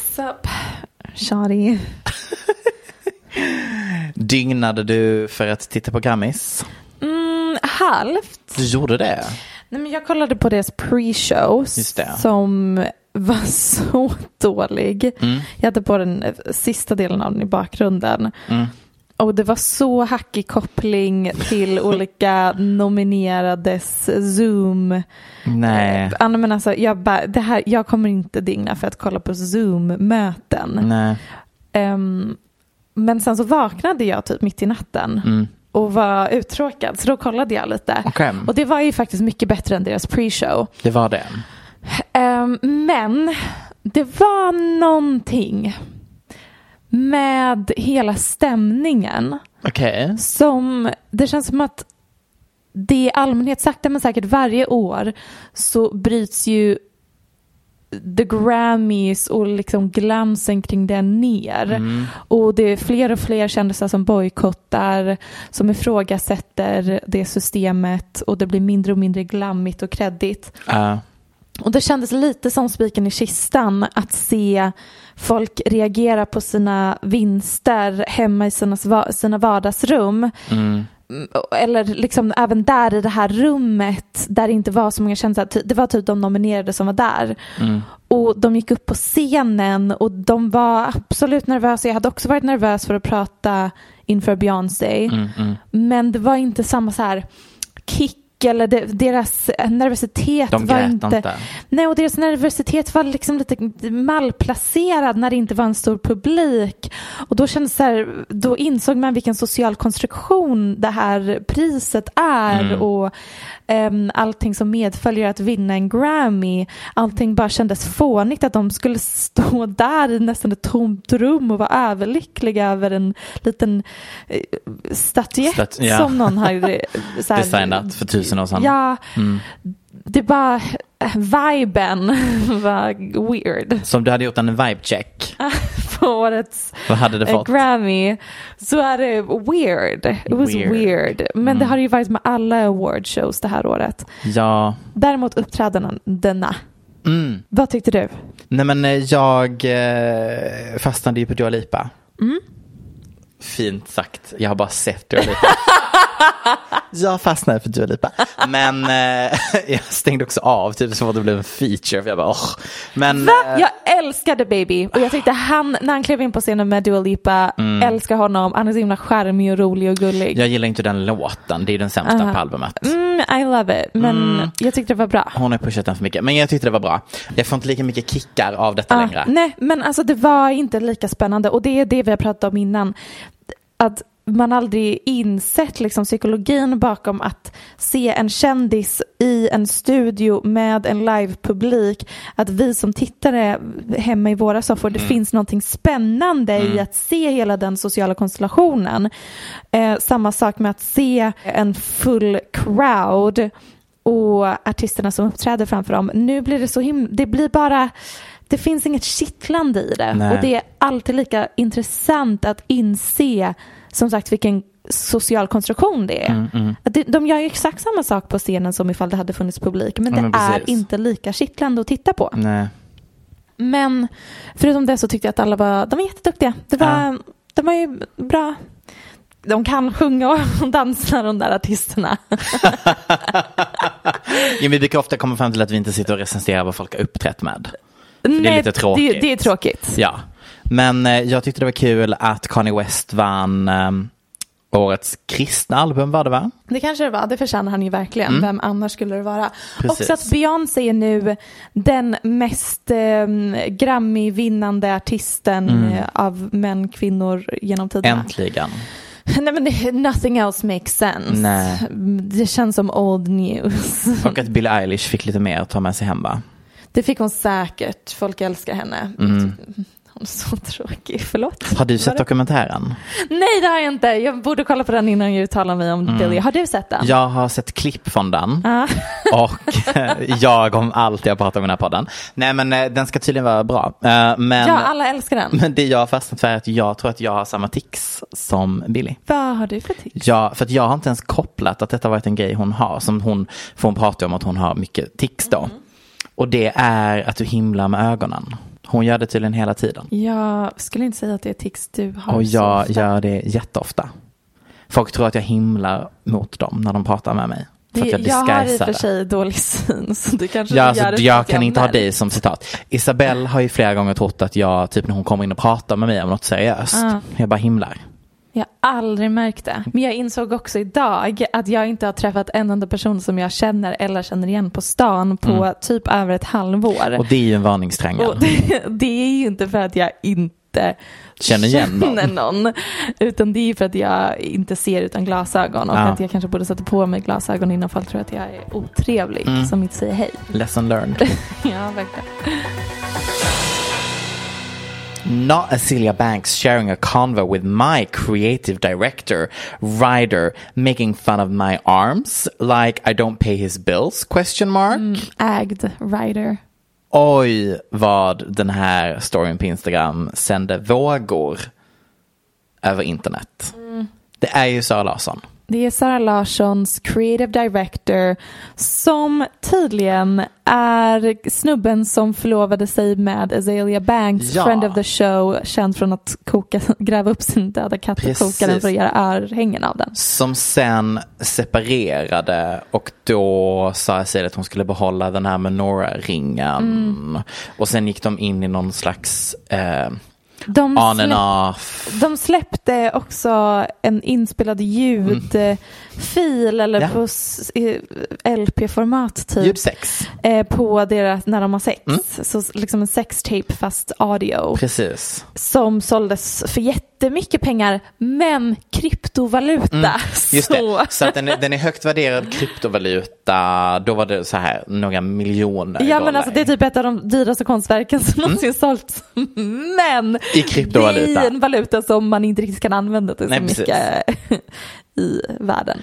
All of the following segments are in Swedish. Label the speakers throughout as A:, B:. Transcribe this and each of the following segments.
A: Sup, shawty.
B: Dygnade du för att titta på Grammis?
A: Mm, halvt.
B: Du gjorde det?
A: Nej, men jag kollade på deras pre-show
B: Just det.
A: som var så dålig.
B: Mm.
A: Jag hade på den eh, sista delen av den i bakgrunden.
B: Mm.
A: Och det var så hackig koppling till olika nominerades Zoom.
B: Nej.
A: Ja, men alltså, jag, bara, det här, jag kommer inte digna för att kolla på Zoom-möten.
B: Nej.
A: Ehm, men sen så vaknade jag typ mitt i natten
B: Mm.
A: och var uttråkad. Så då kollade jag lite.
B: Okej,
A: Och det var ju faktiskt mycket bättre än deras pre-show.
B: det var det.
A: Ehm, men det var någonting med hela stämningen
B: Okej.
A: som det känns som att det i allmänhet sakta men säkert varje år så bryts ju the Grammys och liksom glansen kring det ner. Och det är fler och fler kändisar som bojkottar, som ifrågasätter det systemet och det blir mindre och mindre glammigt och kreddigt.
B: Ja.
A: Och det kändes lite som spiken i kistan att se folk reagera på sina vinster hemma i sina, sva- sina vardagsrum.
B: mm.
A: Mm, Eller liksom även där i det här rummet där det inte var så många kändisar. Ty- Det var typ de nominerade som var där.
B: Mm.
A: Och de gick upp på scenen och de var absolut nervösa. Jag hade också varit nervös för att prata inför Beyoncé.
B: Mm. Mm.
A: Men det var inte samma så här kick eller det, deras nervositet
B: De
A: var
B: grät inte.
A: Nej, och deras nervositet var liksom lite malplacerad när det inte var en stor publik. Och då kändes det så här, då insåg man vilken social konstruktion det här priset är
B: Mm.
A: och um, allting som medföljer att vinna en Grammy. Allting bara kändes fånigt att de skulle stå där i nästan ett tomt rum och vara överlyckliga över en liten eh, statyett
B: Staty- ja.
A: som någon har eh, så här,
B: Designat för tusen år sedan.
A: Ja,
B: Mm.
A: det bara, eh, viben var weird
B: Som du hade gjort en vibe check.
A: på årets
B: Vad hade det
A: eh,
B: fått?
A: Grammy. Så är det weird. It was
B: Weird. Mm.
A: weird. Men det har det ju varit med alla award shows det här året.
B: ja.
A: Däremot uppträdandena.
B: Mm.
A: Vad tyckte du?
B: Nej men eh, jag eh, fastnade ju på Dua Lipa.
A: Mm.
B: Fint sagt, jag har bara sett Dua Lipa. jag fastnade för Dua Lipa. Men eh, jag stängde också av typ så fort det blev en feature. För jag bara, "Åh." Men
A: Va?
B: eh,
A: Jag älskade Baby och jag tyckte han, när han klev in på scenen med Dua Lipa, älskar honom. Han är så himla charmig och rolig och gullig.
B: Mm. jag gillar inte den låten, det är den sämsta på albumet.
A: Mm, I love it. Men
B: Mm.
A: jag tyckte det var bra.
B: Hon har pushat den för mycket, men jag tyckte det var bra. Jag får inte lika mycket kickar av detta
A: Ja,
B: längre.
A: Nej, men alltså det var inte lika spännande och det är det vi har pratat om innan. Att man aldrig insett liksom psykologin bakom att se en kändis i en studio med en livepublik. Att vi som tittare hemma i våra soffor, det finns någonting spännande i att se hela den sociala konstellationen. Eh, samma sak med att se en full crowd och artisterna som uppträder framför dem. Nu blir det så himla, det blir bara, det finns inget kittlande i det.
B: Nej.
A: Och det är alltid lika intressant att inse som sagt vilken social konstruktion det är.
B: Mm,
A: Att det- De gör ju exakt samma sak på scenen som ifall det hade funnits publik men
B: Ja,
A: det
B: men
A: är
B: precis.
A: inte lika kittlande att titta på.
B: Nej.
A: Men förutom det så tyckte jag att alla var, de var jätteduktiga. Det var, De var ju bra. De kan sjunga och dansa de där artisterna.
B: Ja, vi brukar ofta komma fram till att vi inte sitter och recenserar vad folk har uppträtt med.
A: Nej,
B: lite tråkigt.
A: Det, det är tråkigt.
B: Ja. Men eh, jag tyckte det var kul att Kanye West vann eh, årets kristna album var det va?
A: Det kanske det var, det förtjänar han ju verkligen.
B: Mm.
A: Vem annars skulle det vara?
B: Precis.
A: Också att Beyoncé är nu den mest eh, Grammy-vinnande artisten eh, av män, kvinnor genom tiderna.
B: Mm. Äntligen.
A: Nej men nothing else makes sense.
B: Nej.
A: Det känns som old news.
B: Och att Billie Eilish fick lite mer att ta med sig hem va?
A: Det fick hon säkert, folk älskar henne. Hon är så tråkig, förlåt.
B: Mm. Har du sett dokumentären?
A: Nej det har jag inte, jag borde kolla på den innan jag uttalar mig om
B: Mm.
A: Billie. Har du sett den?
B: Jag har sett klipp från den.
A: Ja.
B: Och eh, jag om allt jag pratar om i den här podden. Nej men eh, den ska tydligen vara bra. Eh, Men,
A: ja, alla älskar den.
B: men det jag har fastnat för är att jag tror att jag har samma tics som Billie.
A: Vad har du för tips?
B: Ja, för att jag har inte ens kopplat att detta varit en grej hon har. Som hon, för hon pratar ju om att hon har mycket tics
A: Mm.
B: då. Och det är att du himlar med ögonen. Hon gör det tydligen hela tiden.
A: Jag skulle inte säga att det är tics du har.
B: Och jag
A: så ofta.
B: gör det jätteofta. Folk tror att jag himlar mot dem när de pratar med mig. För att
A: det,
B: jag
A: jag, har i och
B: disguisar
A: för
B: det.
A: sig dålig syn så du kanske inte
B: Ja, alltså,
A: gör det
B: jag
A: fast
B: kan inte ha
A: märker.
B: dig som citat. Isabelle har ju flera gånger trott att jag, typ när hon kommer in och pratar med mig om något seriöst,
A: Ja.
B: jag bara himlar.
A: Jag har aldrig märkt det. Men jag insåg också idag att jag inte har träffat en enda person som jag känner eller känner igen på stan på typ över ett halvår.
B: Mm. Och det är ju en varningstriangel.
A: Och det, det är ju inte för att jag inte
B: Känner igen någon.
A: känner någon. Utan det är ju för att jag inte ser utan glasögon. Och
B: Ja.
A: att jag kanske borde sätta på mig glasögon innan folk tror att jag är otrevlig
B: Mm.
A: som inte säger hej.
B: Lesson learned.
A: Ja, verkligen.
B: Not Azealia Banks sharing a convo with my creative director, Ryder, making fun of my arms, like I don't pay his bills? Question mark.
A: Mm. Ägd rider.
B: Oj, vad den här storyn på Instagram sände vågor över internet. Det är ju Sara Larsson.
A: Det är Sara Larssons creative director som tydligen är snubben som förlovade sig med Azalea Banks,
B: Ja.
A: friend of the show, känd från att koka, gräva upp sin döda katt och koka den
B: Precis.
A: för att göra örhängen av den.
B: Som sen separerade och då sa Azealia att hon skulle behålla den här menorah-ringen. Och sen gick de in i någon slags eh,
A: De,
B: on
A: släpp-
B: and off.
A: de släppte också en inspelad ljudfil eller
B: Mm. Ja.
A: på s- i LP-format typ.
B: Ljudsex.
A: eh, På deras, när de har sex.
B: Mm.
A: Så s- liksom en sextape fast audio.
B: Precis.
A: som såldes för jättemycket pengar men kryptovaluta.
B: Mm, Just
A: så.
B: det. Så att den, är, den är högt värderad kryptovaluta. Då var det så här några miljoner
A: Ja men
B: dollar. Mm.
A: alltså det är typ ett av de dyraste konstverken som någonsin sålts. Men
B: I kryptovaluta.
A: det är en valuta som man inte riktigt kan använda till
B: Nej,
A: så
B: precis.
A: mycket i världen.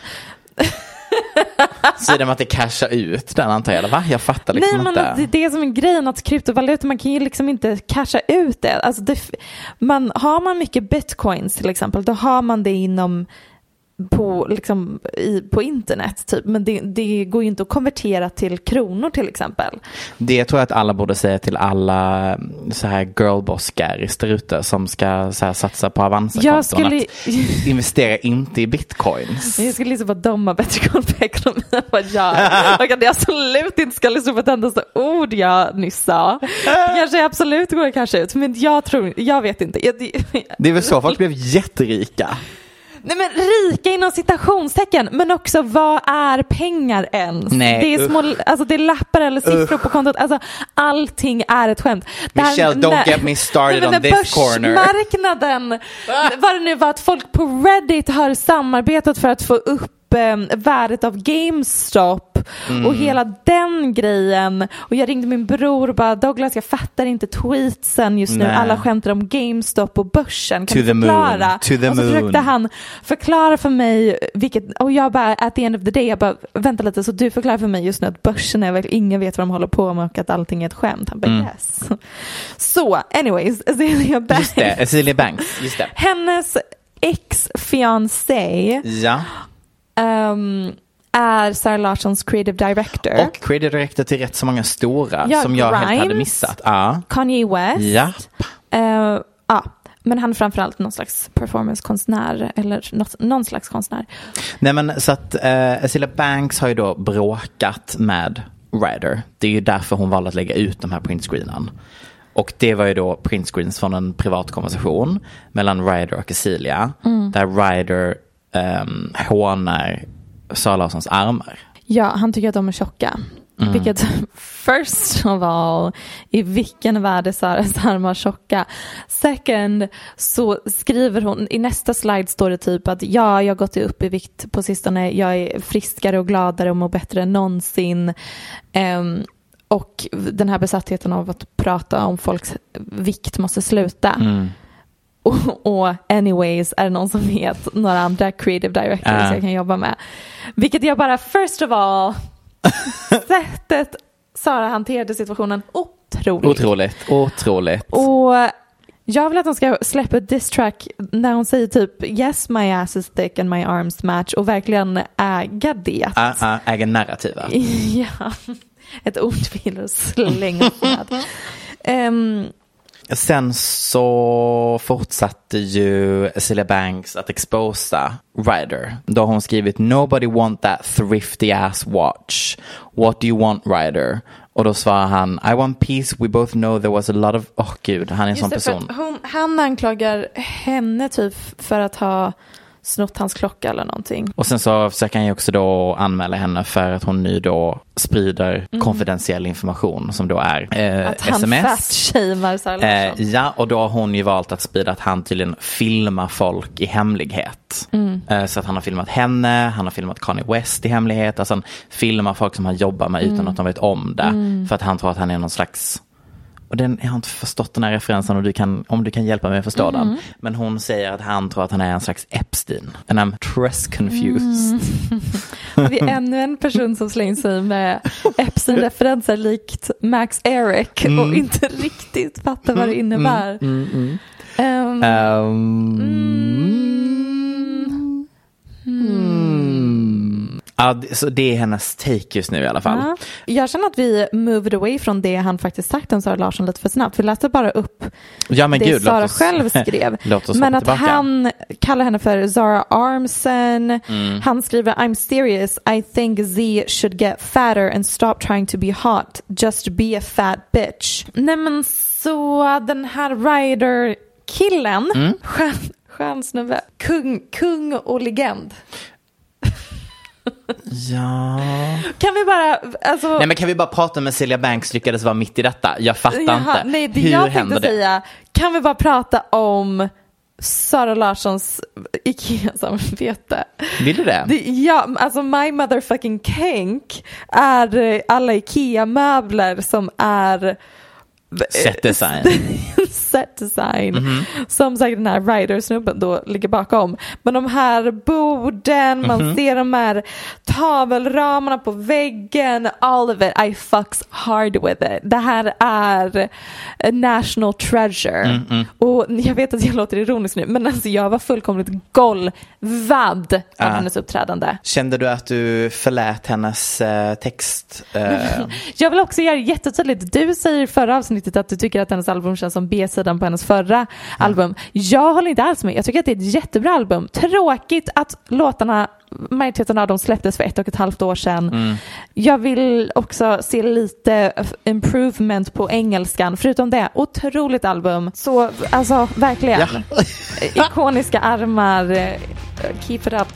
B: Så är det med att det cashar ut den antar jag. eller Va? Jag fattar liksom
A: Nej men alltså,
B: inte.
A: det, det är som en grej att kryptovaluta, man kan ju liksom inte casha ut det. Alltså det f- man, har man mycket bitcoins till exempel, då har man det inom på, liksom, i, på internet typ. Men det, det går ju inte att konvertera till kronor till exempel.
B: Det tror jag att alla borde säga till alla mm, så här girlboss-gäris där ute som ska så här satsa på Avanza-konton.
A: Jag skulle,
B: Att investera inte i bitcoins.
A: jag skulle liksom vara dom har bättre koll på ekonomi än vad jag är. Och att jag absolut inte ska lyssna på ett endaste ord jag nyss sa. Det kanske absolut går att casha ut, men jag tror, jag vet inte. Jag, det,
B: Det är väl så folk blev jätterika.
A: Nej men rika inom citationstecken men också vad är pengar ens?
B: Nej,
A: det, är små, alltså, det är lappar eller siffror på kontot. Alltså, allting är ett skämt. Det här-
B: Michelle, don't get me started
A: Nej, men
B: on
A: när
B: this corner.
A: Börsmarknaden, vad det nu var att folk på Reddit har samarbetat för att få upp eh, värdet av GameStop
B: Mm.
A: och hela den grejen. Och jag ringde min bror och bara Douglas jag fattar inte tweetsen just nu.
B: Nej.
A: Alla skämtar om GameStop och börsen. Kan
B: To
A: du
B: the moon.
A: förklara?
B: To the
A: och så
B: moon.
A: försökte han förklara för mig vilket, och jag bara at the end of the day, jag bara vänta lite så du förklarar för mig just nu att börsen är väl, ingen vet vad de håller på med och att allting är ett skämt. Han bara
B: Mm.
A: yes. Så anyways, Azealia Banks.
B: Just det, Cecilia Banks. Just det.
A: Hennes ex-fiancé
B: Ja,
A: ehm, är Sara Larssons creative director.
B: och credit räckte till rätt så många stora
A: Eh? Ja,
B: som jag helt hade
A: Grimes.
B: missat. Ja.
A: Kanye West.
B: Ja.
A: Eh, ja. Men han är framförallt någon slags performancekonstnär eller något, någon slags konstnär.
B: Nej men så att eh, Cecilia Banks har ju då bråkat med Ryder. Det är ju därför hon valde att lägga ut de här printscreenen. Och det var ju då printscreens från en privat konversation mellan Ryder och Cecilia.
A: Mm.
B: Där Ryder um, hånar Sara Larssons armar.
A: Ja, han tycker att de är tjocka. Vilket first of all, i vilken värld är Saras armar tjocka? Second, så skriver hon, i nästa slide står det typ att ja, jag har gått upp i vikt på sistone, jag är friskare och gladare och mår bättre än någonsin. Ehm, och den här besattheten av att prata om folks vikt måste sluta.
B: Mm.
A: Och, och anyways, är det någon som vet några andra creative directors
B: Ja.
A: jag kan jobba med? Vilket jag bara, first of all, sättet Sara hanterade situationen, otroligt.
B: Otroligt, otroligt.
A: Och jag vill att hon ska släppa ett diss track när hon säger typ yes my ass is thick and my arms match och verkligen äga det.
B: Ah, ah, äger narrativet.
A: Ja, ett ord vill slänga med. Ehm,
B: Sen så fortsatte ju Cecilia Banks att exposa Ryder. Då har hon skrivit “Nobody want that thrifty ass watch. What do you want Ryder?” Och då svarar han “I want peace, we both know there was a lot of...” Åh gud, han är en sån
A: Just det, för
B: person.
A: att hon, han anklagar henne typ för att ha snott hans klocka eller någonting.
B: Och sen så försöker han ju också då anmäla henne för att hon nu då sprider konfidentiell information som då är eh,
A: Mm. Att han
B: sms.
A: fatshamear Sara
B: Eh,
A: Larsson.
B: ja, och då har hon ju valt att sprida att han tydligen filmar folk i hemlighet. Eh, så att han har filmat henne, han har filmat Kanye West i hemlighet. Alltså han filmar folk som han jobbar med utan att de vet om det. För att han tror att han är någon slags och den, jag har inte förstått den här referensen och du kan, om du kan hjälpa mig att förstå den. Men hon säger att han tror att han är en slags Epstein. And I'm trust confused.
A: Det är ännu en person som slänger sig med Epstein-referenser likt Max Eric och
B: Mm.
A: inte riktigt fattar vad det innebär. Ehm,
B: Ehm, mm. Ja, det- så det är hennes take just nu i alla fall.
A: ja. Jag känner att vi moved away från det han faktiskt sagt om Sara Larsson lite för snabbt. Vi läste bara upp
B: Ja men
A: det
B: gud,
A: Sara
B: låt oss,
A: själv skrev.
B: låt oss
A: Men
B: hoppa
A: att
B: tillbaka.
A: han kallar henne för Zara Armson.
B: Mm.
A: Han skriver I'm serious. I think Z should get fatter and stop trying to be hot. Just be a fat bitch. Nej men så den här rider killen
B: Mm.
A: skön, skön snubbe, kung, kung och legend.
B: Ja.
A: Kan vi bara, alltså,
B: Nej men kan vi bara prata med Celia Banks lyckades vara mitt i detta? Jag fattar
A: Jaha,
B: inte.
A: Nej, det
B: Hur
A: jag
B: händer
A: tänkte
B: det?
A: säga, kan vi bara prata om Sara Larssons IKEA-samarbete?
B: Vill du det?
A: Det, ja, alltså my motherfucking kink är eh, alla IKEA-möbler som är
B: Set design.
A: set design. Som säkert den här rider-snubben då ligger bakom. Men de här borden, man ser de här tavelramarna på väggen. All of it, I fucks hard with it. Det här är a national treasure. Och jag vet att jag låter ironisk nu, men alltså jag var fullkomligt golvad av hennes uppträdande.
B: Kände du att du förlät hennes eh, text? eh,
A: Jag vill också göra det jättetydligt. Du säger i förra avsnittet att du tycker att hennes album känns som B-sidan på hennes förra album. Jag håller inte alls med. Jag tycker att det är ett jättebra album. Tråkigt att låtarna majoriteten av dem släpptes för ett och ett halvt år sedan. Jag vill också se lite f- improvement på engelskan. Förutom det, otroligt album. Så alltså verkligen. Ikoniska armar. eh, Keep it up,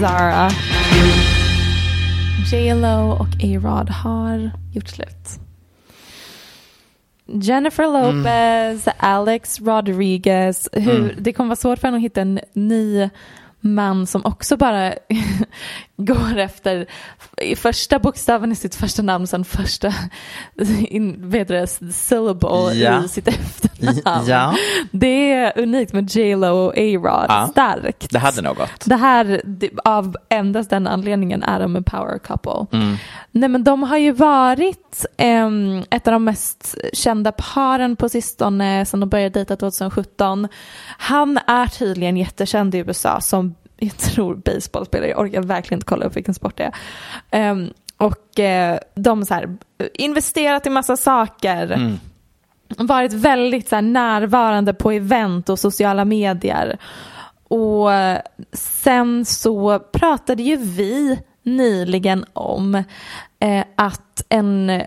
A: Zara. J.Lo och A-Rod har gjort slut. Jennifer
B: Mm.
A: Lopez, Alex Rodriguez. Hur, Det kommer vara svårt för henne att hitta en ny man som också bara går efter i första bokstaven i sitt första namn sen första in, vet du, det, syllable
B: Ja.
A: i sitt efternamn.
B: Ja.
A: Det är unikt med J.Lo och A-Rod.
B: Ja.
A: Starkt.
B: Det hade något.
A: Det här, det- av endast den anledningen, är de en power couple.
B: Mm.
A: Nej men de har ju varit em, ett av de mest kända paren på sistone sedan de började dejta 2017. Han är tydligen jättekänd i USA som, jag tror baseballspelare, jag orkar verkligen inte kolla upp vilken sport det är. Em, och eh, de så här, investerat i massa saker
B: Mm.
A: varit väldigt så här, närvarande på event och sociala medier. Och eh, sen så pratade ju vi nyligen om eh, att en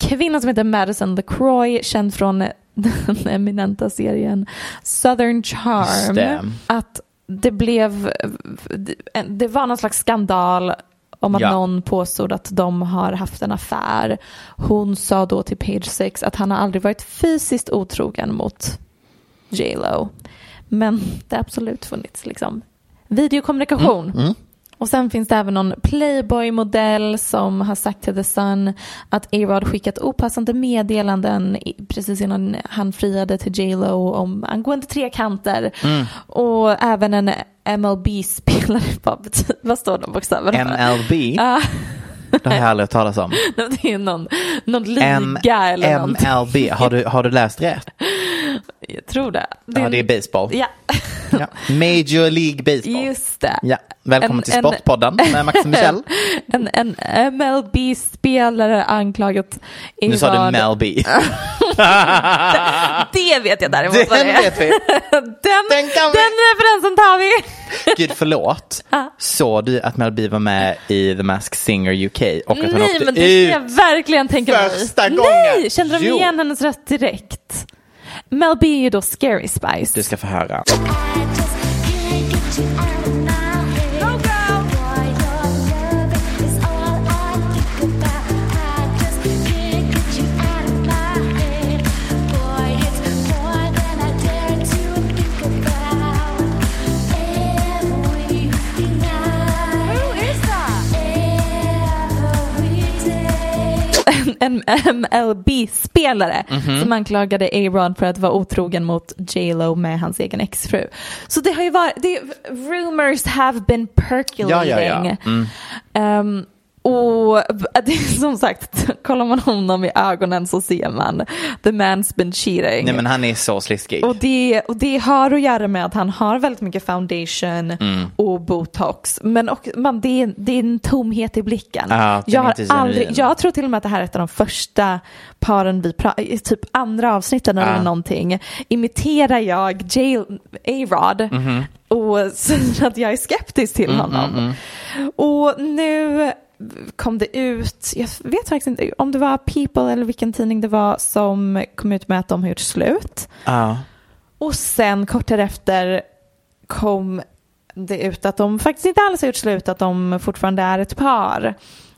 A: kvinna som heter Madison LaCroix, känd från den eminenta serien Southern Charm,
B: Just det.
A: att det blev, det var någon slags skandal om att
B: Ja.
A: någon påstod att de har haft en affär. Hon sa då till Page Six att han har aldrig varit fysiskt otrogen mot J Lo. Men det har absolut funnits liksom videokommunikation.
B: Mm.
A: Och sen finns det även någon Playboy-modell som har sagt till The Sun att A-Rod skickat opassande meddelanden i- precis innan han friade till J Lo om angående trekanter.
B: Mm.
A: Och även en MLB-spelare, vad, betyder- vad står de bokstäverna för?
B: MLB.
A: Ja.
B: Det har jag aldrig hört talas om.
A: Nej, men Det är någon, någon liga
B: M-
A: eller något.
B: MLB. Har du, har du läst rätt?
A: Jag tror det.
B: Ja, det är baseball.
A: Ja,
B: Ja. Major League Baseball.
A: just det.
B: Ja. Välkommen
A: En-
B: till Sportpodden med Max och Michelle.
A: En, en MLB-spelare anklagat i
B: Nu sa du
A: vad-
B: Melby.
A: Det vet jag däremot vad
B: Den
A: det är.
B: vet vi.
A: Den,
B: Den kan vi.
A: den referensen tar vi.
B: Gud förlåt. Såg du att Melby var med i The Mask Singer UK och att hon
A: Nej,
B: åkte
A: men det kan
B: ut?
A: jag verkligen tänka mig.
B: första
A: Nej,
B: gången.
A: kände de
B: Jo.
A: igen hennes röst direkt? Mel B är ju då Scary Spice.
B: Du ska få höra.
A: En MLB-spelare
B: Mhm.
A: som anklagade A-Rod för att vara otrogen mot J Lo med hans egen exfru. Så det har ju varit, det, rumors have been
B: Ja,
A: percolating.
B: ja, ja. Mm.
A: Ehm, och det är som sagt, kollar man honom i ögonen så ser man the man's been cheating.
B: Nej men han är så sliskig.
A: Och det, och det har att göra med att han har väldigt mycket foundation
B: Mm.
A: och botox. Men och, man, det, är, det är en tomhet i blicken.
B: Ja, den
A: jag,
B: är
A: har
B: inte
A: aldrig,
B: genuin.
A: jag tror till och med att det här är ett av de första paren vi pratar i typ andra avsnitten eller någonting. Imiterar jag J- A-Rod
B: Mm-hmm.
A: och säger att jag är skeptisk till
B: Mm,
A: honom.
B: mm-hmm.
A: Och nu kom det ut, jag vet faktiskt inte om det var People eller vilken tidning det var som kom ut med att de har gjort slut.
B: Ja.
A: Och sen kort därefter kom det ut att de faktiskt inte alls har gjort slut, att de fortfarande är ett par.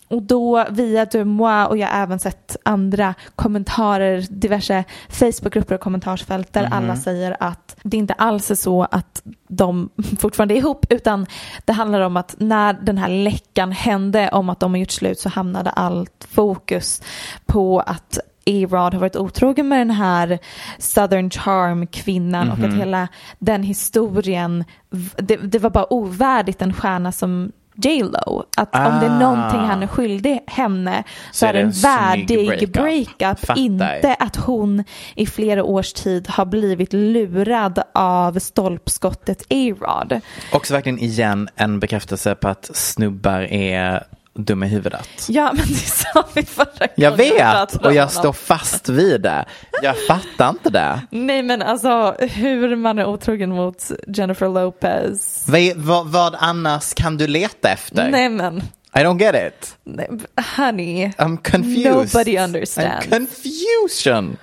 A: Och då via Dumois och jag har även sett andra kommentarer, diverse Facebookgrupper och kommentarsfält där alla säger att det inte alls är så att de fortfarande är ihop utan det handlar om att när den här läckan hände om att de har gjort slut så hamnade allt fokus på att A-Rod har varit otrogen med den här Southern Charm-kvinnan och att hela den historien, v- det, det var bara ovärdigt en stjärna som J Lo. Att om det är
B: Ah.
A: någonting han är skyldig henne så,
B: Så
A: är det en
B: snygg
A: värdig breakup.
B: breakup. Fattar.
A: Inte att hon i flera års tid har blivit lurad av stolpskottet A-Rod.
B: Också verkligen igen en bekräftelse på att snubbar är dum i huvudet.
A: Ja, men det sa vi förra gången.
B: Jag
A: vi
B: vet
A: pratade
B: och
A: om
B: jag
A: honom.
B: står fast vid det. Jag fattar inte det.
A: Nej, men alltså hur man är otrogen mot Jennifer Lopez.
B: Vad, är- vad, vad annars kan du leta efter?
A: Nej, men
B: I don't get it.
A: nej, honey.
B: I'm confused.
A: Nobody understands.
B: I'm confusion.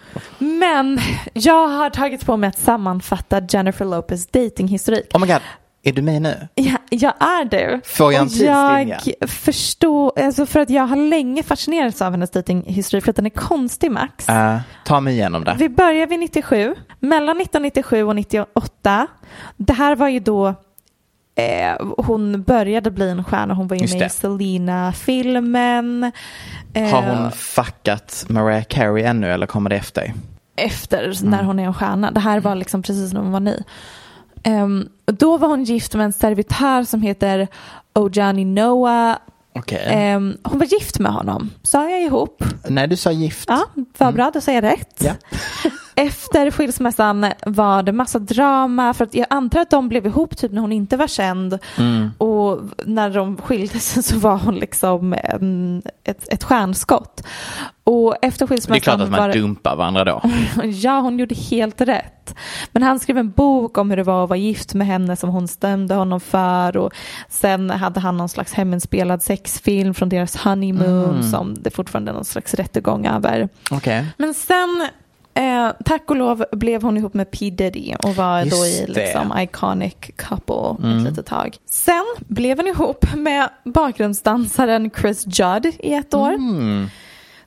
A: Men jag har tagit på mig att sammanfatta Jennifer Lopez datinghistorik.
B: Oh my god, är du med nu?
A: Ja, jag är det.
B: Får jag en
A: Och jag
B: tidslinje?
A: förstår, alltså för att jag har länge fascinerats av hennes datinghistorik för att den är konstig Max.
B: Eh, ta mig igenom det.
A: Vi börjar vid 97. Mellan 1997 och 98. Det här var ju då eh, hon började bli en stjärna. Hon var ju
B: Just
A: med
B: det.
A: i Selena-filmen. Eh,
B: Har hon fuckat Mariah Carey ännu eller kommer det efter? Mm.
A: Efter när hon är en stjärna. Det här var liksom precis när hon var ny. Ehm, och då var hon gift med en servitör som heter Ojani Noah.
B: Okej.
A: Ehm, hon var gift med honom. Sa jag ihop?
B: Nej, du sa gift.
A: Ja, vad bra, då säger jag rätt.
B: Mm. Ja.
A: Efter skilsmässan var det massa drama för att jag antar att de blev ihop typ när hon inte var känd
B: Mm.
A: och när de skildes så var hon liksom en, ett, ett stjärnskott. Och efter
B: Det är
A: skilsmässan
B: klart att man
A: var det-
B: dumpar varandra då.
A: Ja, hon gjorde helt rätt. Men han skrev en bok om hur det var att vara gift med henne som hon stämde honom för och sen hade han någon slags heminspelad sexfilm från deras honeymoon som det fortfarande är någon slags rättegång över.
B: Okej.
A: Men sen, eh, tack och lov, blev hon ihop med P Diddy och var
B: Just
A: då i
B: det. Mm.
A: liksom, iconic couple ett litet tag. Sen blev hon ihop med bakgrundsdansaren Chris Judd i ett år.
B: Mm.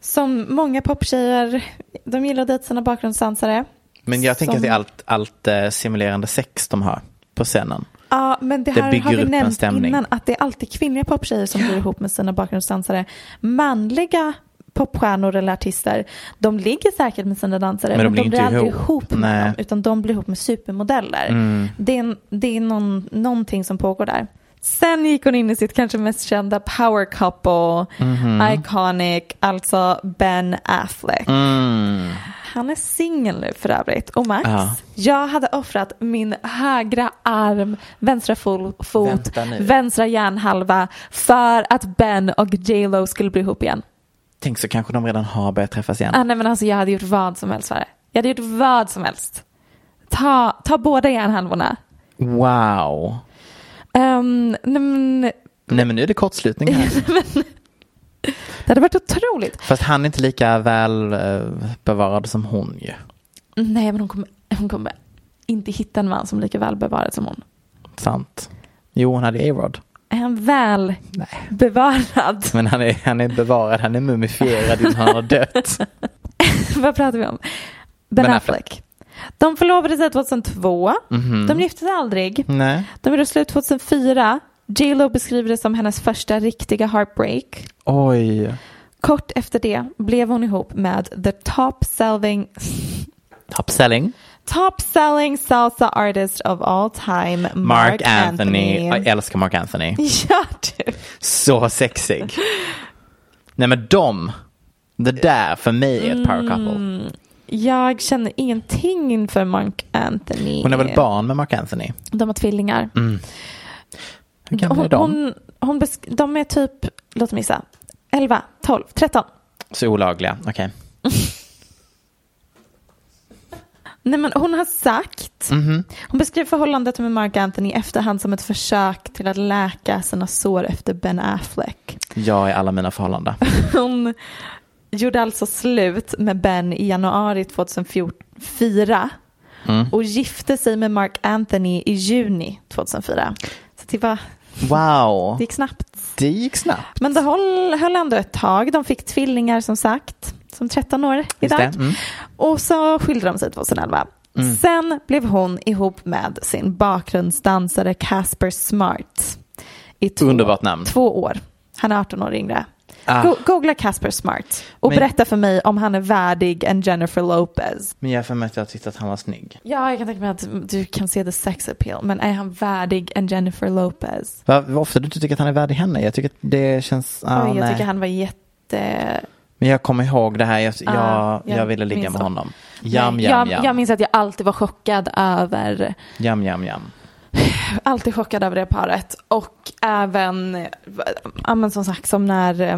A: Som många poptjejer, de gillar att dejta sina bakgrundsdansare.
B: Men jag tänker
A: Som-
B: att det är allt, allt eh, simulerande sex de har på scenen.
A: Ja, men det
B: Det
A: här
B: bygger
A: har vi
B: upp en
A: nämnt
B: stämning.
A: innan att det är alltid kvinnliga poptjejer som blir ihop med sina bakgrundsdansare. Manliga popstjärnor eller artister, de ligger säkert med sina dansare
B: Men de
A: men de
B: blir
A: blir
B: inte
A: aldrig
B: ihop.
A: ihop, med
B: Nej. Mm.
A: dem utan de blir ihop med supermodeller. Det är, en- det är någon, någonting som pågår där. Sen gick hon in i sitt kanske mest kända power couple,
B: Mhm.
A: iconic, alltså Ben Affleck.
B: Mm.
A: Han är singel nu för övrigt. Och Max,
B: Ja.
A: jag hade offrat min högra arm, vänstra fo- fot,
B: Vänta nu.
A: vänstra hjärnhalva för att Ben och J Lo skulle bli ihop igen.
B: Tänk så kanske de redan har börjat träffas igen.
A: Ah, nej, men alltså, jag hade gjort vad som helst för det. Jag hade gjort vad som helst. Ta, ta båda hjärnhalvorna.
B: Wow.
A: Ehm, nej, men,
B: Nej men nu är det kortslutning här.
A: det hade varit otroligt.
B: Fast han är inte lika väl eh, bevarad som hon ju.
A: Nej, men hon kommer, hon kommer inte hitta en man som är lika välbevarad som hon.
B: Sant. Jo hon hade A-Rod.
A: Är han väl
B: Nej.
A: bevarad?
B: Men han är, han är bevarad, han är mumifierad innan han har dött.
A: Vad pratar vi om? Ben,
B: Ben Affleck. Mhm.
A: Affleck. De förlovade sig 2002. De gifte sig aldrig.
B: Nej.
A: De gjorde slut 2004. J Lo beskriver det som hennes första riktiga heartbreak.
B: Oj.
A: Kort efter det blev hon ihop med the top selling,
B: Top selling.
A: top selling salsa artist of all time, Mark,
B: Mark Anthony.
A: Anthony.
B: Jag älskar Mark Anthony.
A: Ja, du.
B: Så sexig. Nej men de. Det där för mig är ett power couple.
A: Jag känner ingenting inför Mark Anthony.
B: Hon är väl barn med Mark Anthony?
A: De har tvillingar.
B: Hur gamla är
A: Hon,
B: de?
A: hon, hon besk- de är typ, låt mig gissa, 11, 12, 13.
B: Så olagliga, okej.
A: Nej men hon har sagt, hon beskrev förhållandet med Mark Anthony i efterhand som ett försök till att läka sina sår efter Ben Affleck.
B: Jag är alla mina förhållanden.
A: Hon gjorde alltså slut med Ben i januari 2004 och gifte sig med Mark Anthony i juni 2004. Så det, var,
B: Wow,
A: det gick snabbt.
B: det gick snabbt.
A: Men det höll, höll ändå ett tag. De fick tvillingar som sagt, som 13 år idag.
B: det, mm.
A: Och så skilde de sig 2011. Sen blev hon ihop med sin bakgrundsdansare Casper Smart. I två,
B: Underbart namn.
A: Två år. Han är 18 år yngre.
B: Ah.
A: Go- Googla Casper Smart och
B: Men-
A: berätta för mig om han är värdig en Jennifer Lopez.
B: Men jag har för mig att jag tyckte att han var snygg.
A: Ja, jag kan tänka mig att du kan se the sex appeal, men är han värdig en Jennifer Lopez?
B: Va- Vad ofta du inte tycker att han är värdig henne. Jag tycker att det känns... ah,
A: Oj, jag
B: nej.
A: tycker han var jätte...
B: Men jag kommer ihåg det här, jag, jag, jag
A: jag
B: ville ligga
A: minns
B: med
A: det.
B: honom. Jam,
A: Nej,
B: jam,
A: jag,
B: jam.
A: jag minns att jag alltid var chockad över
B: Jam, jam, jam.
A: alltid chockad över det paret. Och även, eh, ja men som sagt som när eh,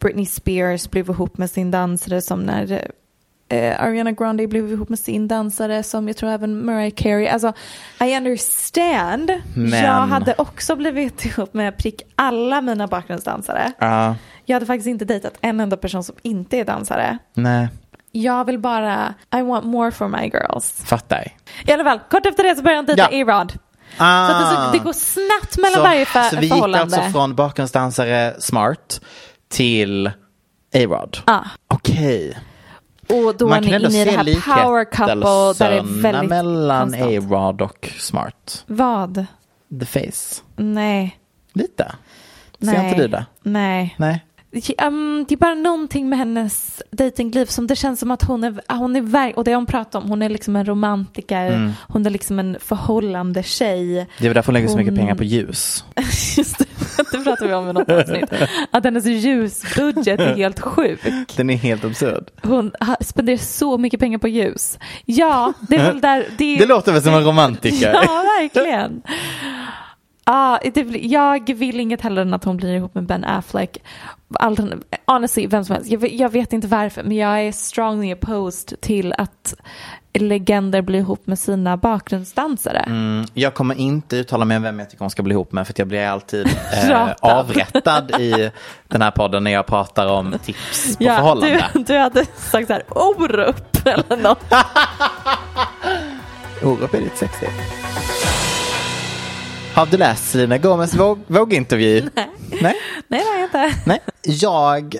A: Britney Spears blev ihop med sin dansare, som när eh, Ariana Grande blev ihop med sin dansare, som jag tror även Mariah Carey. Alltså, I understand.
B: Men-
A: Jag hade också blivit ihop med prick alla mina bakgrundsdansare.
B: Ja,
A: Jag hade faktiskt inte dejtat en enda person som inte är dansare.
B: nej,
A: Jag vill bara, I want more for my girls.
B: fattar.
A: I alla fall, kort efter det så började han dejta
B: Ja.
A: A-Rod. Så att det, så, det går snabbt mellan varje för,
B: Ah. så vi gick
A: förhållande.
B: alltså från bakgrundsdansare smart till A-Rod. Okej.
A: Ah. och då är
B: Man kan
A: ni
B: ändå
A: inne i det
B: se
A: här power couple där det är
B: likheten
A: väldigt
B: mellan
A: konstant.
B: A-Rod och smart.
A: Vad?
B: The face.
A: Nej.
B: Lite. Ser
A: Nej.
B: inte du det?
A: Nej.
B: Nej.
A: Ehm, det är bara någonting med hennes datingliv som det känns som att hon är, ah, hon är verk- och det har hon pratat om, hon är liksom en romantiker,
B: Mm.
A: hon är liksom en förhållande tjej.
B: Det är väl därför hon lägger så mycket
A: Hon-
B: pengar på ljus.
A: Just det, det pratade vi om i något avsnitt. Att hennes ljusbudget är helt sjuk.
B: Den är helt absurd.
A: Hon ha- spenderar så mycket pengar på ljus. Ja, det är väl där... Det,
B: Det låter väl som en romantiker.
A: Ja, verkligen. Ah, det, blir- jag vill inget hellre än att hon blir ihop med Ben Affleck. Altern- honestly, vem som helst. Jag, vet- jag vet inte varför, men jag är strongly opposed till att legender blir ihop med sina bakgrundsdansare.
B: Jag kommer inte uttala mig om vem jag tycker hon ska bli ihop med för att jag blir alltid eh,
A: Ratad.
B: avrättad i den här podden när jag pratar om tips på förhållande.
A: du, du hade sagt så här, Orup eller något.
B: Orup är lite sexigt. Har du läst Selena Gomez våg, vågintervju? Nej. Nej?
A: Nej, det har jag inte.
B: Nej. Jag,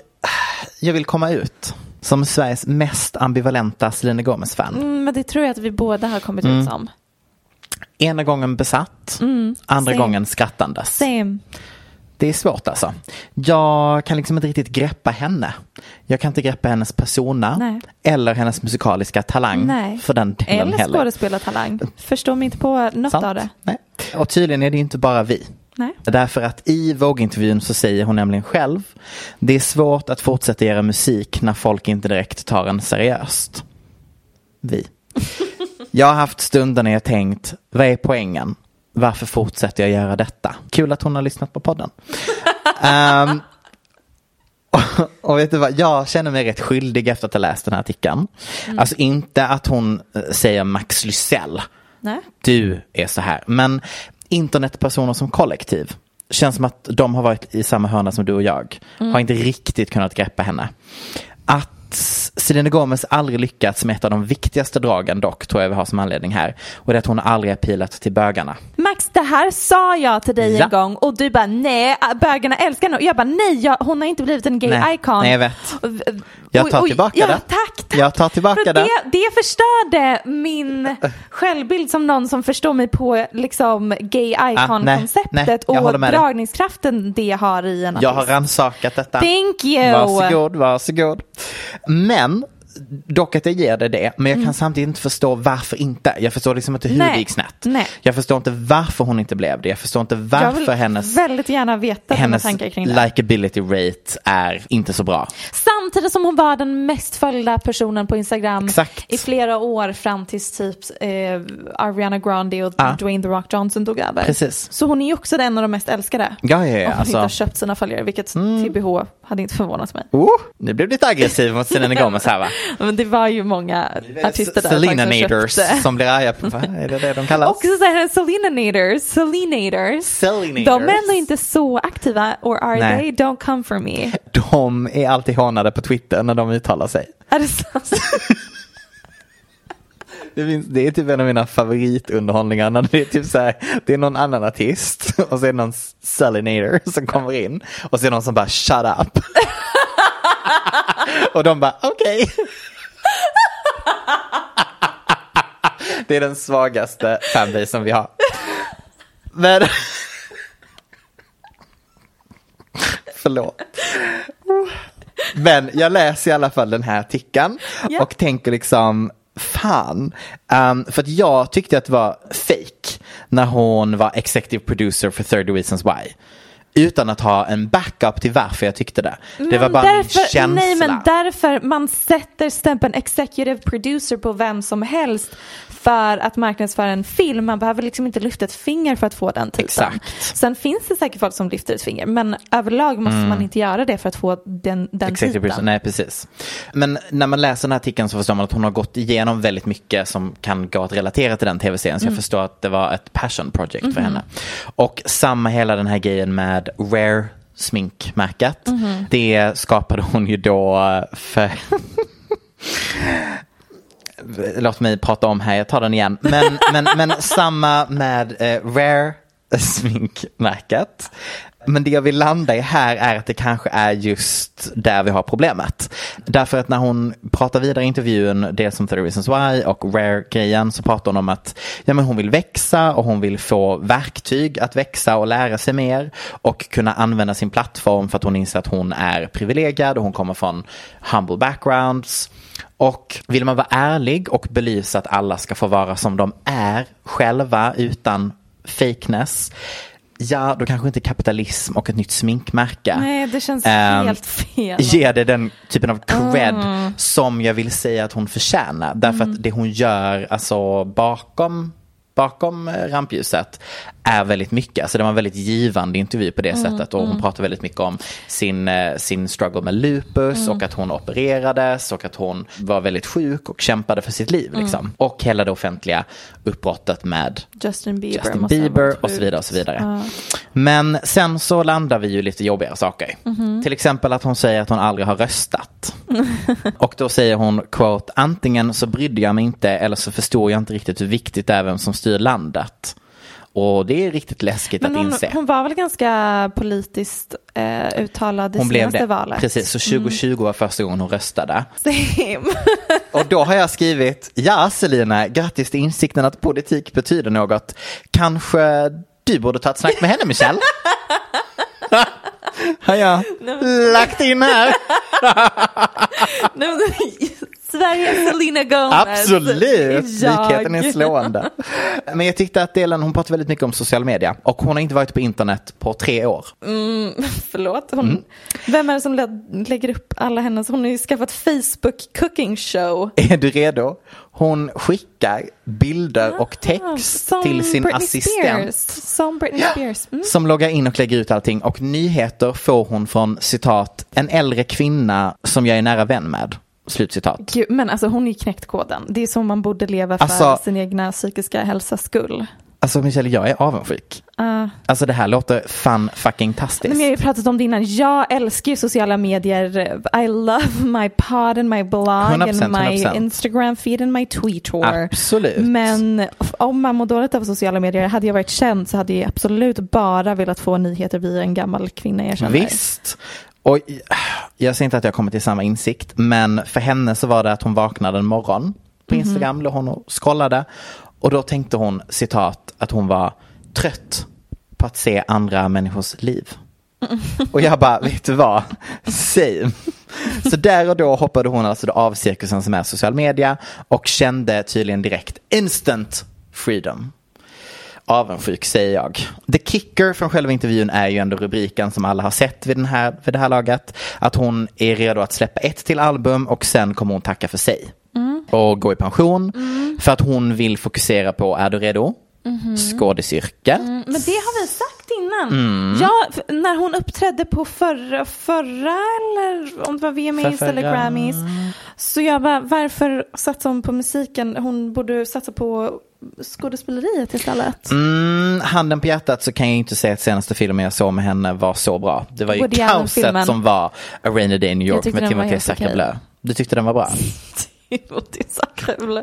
B: jag vill komma ut som Sveriges mest ambivalenta Selena Gomez-fan.
A: Mm, Men det tror jag att vi båda har kommit
B: Mm.
A: ut som.
B: Ena gången besatt, andra
A: Mm. same.
B: gången skrattandes.
A: Same.
B: Det är svårt alltså. Jag kan liksom inte riktigt greppa henne. Jag kan inte greppa hennes persona
A: Nej.
B: eller hennes musikaliska talang
A: Nej.
B: för den delen
A: Eller
B: heller.
A: skådespelartalang. Förstår mig inte på något
B: Sant?
A: av det.
B: Nej. Och tydligen är det inte bara vi.
A: Nej.
B: Därför att i vågintervjun så säger hon nämligen själv Det är svårt att fortsätta göra musik när folk inte direkt tar en seriöst. Vi. Jag har haft stunder när jag tänkt Vad är poängen? Varför fortsätter jag göra detta? Kul att hon har lyssnat på podden. Ehm, och, och vet du vad, jag känner mig rätt skyldig efter att ha läst den här artikeln. Alltså inte att hon eh, säger Max Lysell
A: Nej.
B: du är så här. Men internetpersoner som kollektiv känns som att de har varit i samma hörna som du och jag. Har inte riktigt kunnat greppa henne. Att Selena Gomez aldrig lyckats med ett av de viktigaste dragen dock, tror jag vi har som anledning här. Och det är att hon aldrig har pilat till bögarna.
A: Max, det här sa jag till dig
B: Ja.
A: en gång och du bara nej, bögarna älskar henne. Och jag bara nej, jag, hon har inte blivit en gay
B: Nej,
A: icon.
B: nej, jag vet.
A: Och- och-
B: Jag tar
A: och-
B: tillbaka
A: ja,
B: det.
A: Tack, tack.
B: Jag tar tillbaka
A: För
B: det.
A: det. Det förstörde min självbild som någon som förstår mig på liksom gay
B: Ah, nej, nej,
A: icon-konceptet
B: jag håller
A: och
B: med dig.
A: dragningskraften det har i en
B: Jag har
A: artist.
B: rannsakat detta.
A: Thank you.
B: Varsågod, varsågod. Men, dock att jag ger dig det, men jag kan samtidigt inte förstå varför inte. Jag förstår liksom inte hur
A: Mm. Nej,
B: det gick snett.
A: nej.
B: Jag förstår inte varför hon inte blev det. Jag förstår inte
A: Jag
B: varför
A: vill
B: hennes,
A: väldigt gärna veta hennes
B: hennes
A: tankar kring det.
B: likability rate är inte så bra.
A: Samtidigt som hon var den mest följda personen på Instagram
B: Exakt.
A: i flera år fram tills typ eh, Ariana Grande och
B: Ja.
A: Dwayne The Rock Johnson tog över.
B: Precis.
A: Så hon är ju också en av de mest älskade.
B: Ja, ja, ja,
A: Om hon inte har
B: alltså. Mm.
A: köpt sina följare, vilket TBH hade inte förvånat mig.
B: Oh, nu blev du lite aggressiv mot Selena Gomez här va?
A: Men det var ju många artister där.
B: Selena
A: som
B: Naders
A: köpte.
B: som blir arga på, vad är det det de kallas?
A: Också så här, Selena Naders, Selenators.
B: Selenators.
A: De är ändå inte så aktiva, or are
B: Nej.
A: they? Don't come for me.
B: De är alltid hånade på Twitter när de uttalar sig.
A: Är det sant?
B: Det, finns, det är typ en av mina favoritunderhållningar när det är typ så här, det är någon annan artist och så är det någon Salinator som kommer in och så är det någon som bara shut up. och de bara okej. det är den svagaste fanbase som vi har. Men... Förlåt. Men jag läser i alla fall den här artikeln
A: Ja.
B: och tänker liksom fan. Ehm, för att jag tyckte att det var fake när hon var executive producer för 30 Reasons Why. Utan att ha en backup till varför jag tyckte det. det var
A: Men
B: bara
A: därför,
B: min känsla.
A: Nej men därför man sätter stämpeln executive producer på vem som helst för att marknadsföra en film. Man behöver liksom inte lyfta ett finger för att få den titeln.
B: Exakt. Mm.
A: Sen finns det säkert folk som lyfter ett finger men överlag måste man inte göra det för att få den, den
B: Executive
A: titeln.
B: producer, nej precis. Men när man läser den här artikeln så förstår man att hon har gått igenom väldigt mycket som kan gå att relatera till den tv-serien. Så jag förstår att det var ett passion project för henne. Och samma hela den här grejen med Rare sminkmärket. Det skapade hon ju då eh, för låt mig prata om här, jag tar den igen. Men, men, men samma med eh, Rare sminkmärket. Men det jag vill landa i här är att det kanske är just där vi har problemet. Därför att när hon pratar vidare i intervjun, dels som 30 Reasons Why och Rare-grejen, så pratar hon om att ja, men hon vill växa och hon vill få verktyg att växa och lära sig mer och kunna använda sin plattform för att hon inser att hon är privilegierad och hon kommer från humble backgrounds. Och vill man vara ärlig och belysa att alla ska få vara som de är själva utan fakeness. Ja, då kanske inte kapitalism och ett nytt sminkmärke.
A: Nej det känns
B: Ehm,
A: helt fel.
B: Ge det den typen av cred som jag vill säga att hon förtjänar. Därför att det hon gör alltså bakom bakom eh, rampljuset är väldigt mycket. Alltså det var en väldigt givande intervju på det sättet och hon pratar väldigt mycket om sin, eh, sin struggle med lupus och att hon opererades och att hon var väldigt sjuk och kämpade för sitt liv. Liksom. Och hela det offentliga uppbrottet med
A: Justin Bieber,
B: Justin
A: måste ha
B: Bieber
A: varit
B: och så vidare. Och så
A: sjukt.
B: vidare. Men sen så landar vi ju lite jobbigare saker.
A: Mhm.
B: Till exempel att hon säger att hon aldrig har röstat. och då säger hon, quote, antingen så brydde jag mig inte eller så förstod jag inte riktigt hur viktigt det är vem som styr landet. Och det är riktigt läskigt
A: Men
B: att
A: hon,
B: inse.
A: hon var väl ganska politiskt eh, uttalad i
B: Hon blev
A: senaste
B: det.
A: valet? Mm.
B: Precis, så 2020 var första gången hon röstade.
A: Same.
B: Och då har jag skrivit, ja Selina, grattis till insikten att politik betyder något. Kanske du borde ta ett snack med henne Michelle? har jag lagt in här.
A: Nej, men- Sveriges Selena Gomez.
B: Absolut,
A: Jag.
B: likheten är slående. Men jag tyckte att delen, hon pratar väldigt mycket om social media och hon har inte varit på internet på tre år.
A: Förlåt, hon,
B: Mm.
A: vem är det som lä- lägger upp alla hennes, hon har ju skaffat Facebook cooking show.
B: Är du redo? Hon skickar bilder och text
A: Ah, Som
B: till sin
A: Britney
B: assistent.
A: Spears. Som Britney Spears. Mm.
B: som loggar in och lägger ut allting och nyheter får hon från citat en äldre kvinna som jag är nära vän med. Slutcitat.
A: Gud, men alltså hon är ju knäckt koden. Det är så man borde leva för
B: Alltså-
A: sin egna psykiska hälsas skull.
B: Alltså Michelle, jag är avundsjuk. Alltså det här låter fan fucking
A: Ah. Nej, men
B: tastiskt.
A: jag har ju pratat om det innan. Jag älskar ju sociala medier. I love my pod and my blog
B: 100%,
A: and my
B: 100%.
A: Instagram feed and my Twitter.
B: Absolut.
A: Men om man mår dåligt av sociala medier, hade jag varit känd så hade jag absolut bara velat få nyheter via en gammal kvinna jag känner.
B: Visst. Och jag säger inte att jag kommit till samma insikt, men för henne så var det att hon vaknade en morgon på
A: Mhm.
B: Instagram, låg hon och scrollade. Och då tänkte hon, citat, att hon var trött på att se andra människors liv. Och jag bara, vet du vad? Same. Så där och då hoppade hon alltså då av cirkusen som är social media och kände tydligen direkt instant freedom. Avundsjuk säger jag. The kicker från själva intervjun är ju ändå rubriken som alla har sett vid, den här, vid det här laget. Att hon är redo att släppa ett till album och sen kommer hon tacka för sig. Och gå i pension. För att hon vill fokusera på, är du redo? Skådisyrket.
A: Men det har vi sagt innan.
B: Mm.
A: Ja, f- när hon uppträdde på förra, förra eller om det var VMAs
B: Förrförra.
A: eller Grammys. Så jag bara, varför satsar hon på musiken? Hon borde satsa på skådespeleriet istället.
B: Mm, handen på hjärtat så kan jag inte säga att senaste filmen jag såg med henne var så bra. Det var ju
A: Woody
B: kaoset
A: Allen-filmen.
B: som var A Rainy Day in New
A: Jag
B: York
A: tyckte
B: med
A: den var Mm.
B: Timothée
A: helt okej.
B: Zachablö. Du tyckte den var bra?
A: Det låter ju så kul. Eh,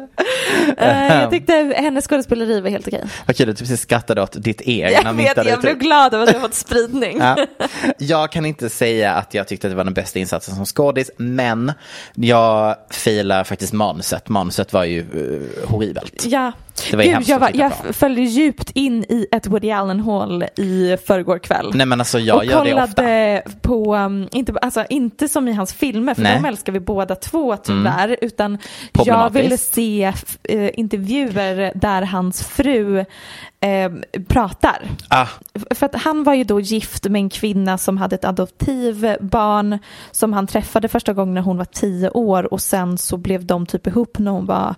B: Ehm.
A: Jag tyckte hennes skådespeleri var helt okej.
B: Vad kul att du typ precis skrattade åt ditt eget.
A: Jag vet, jag blev glad över att jag fått spridning.
B: typ- Ja. Jag kan inte säga att jag tyckte att det var den bästa insatsen som skådis, men jag filar faktiskt manuset. Manuset var ju eh, horribelt.
A: Ja,
B: Det var ju
A: Gud,
B: hemskt
A: jag,
B: att
A: var,
B: titta
A: jag
B: på.
A: följde djupt in i ett Woody Allen-hål i förrgår kväll.
B: Nej men alltså jag
A: och
B: gör det ofta.
A: kollade på, um, inte, alltså, inte som i hans filmer, för
B: Nej. Mm.
A: de älskar vi båda två tyvärr, utan jag
B: Problematiskt.
A: ville se f- eh, intervjuer där hans fru eh, pratar.
B: Ah,
A: F- För att han var ju då gift med en kvinna som hade ett adoptivbarn som han träffade första gången när hon var tio år och sen så blev de typ ihop när hon var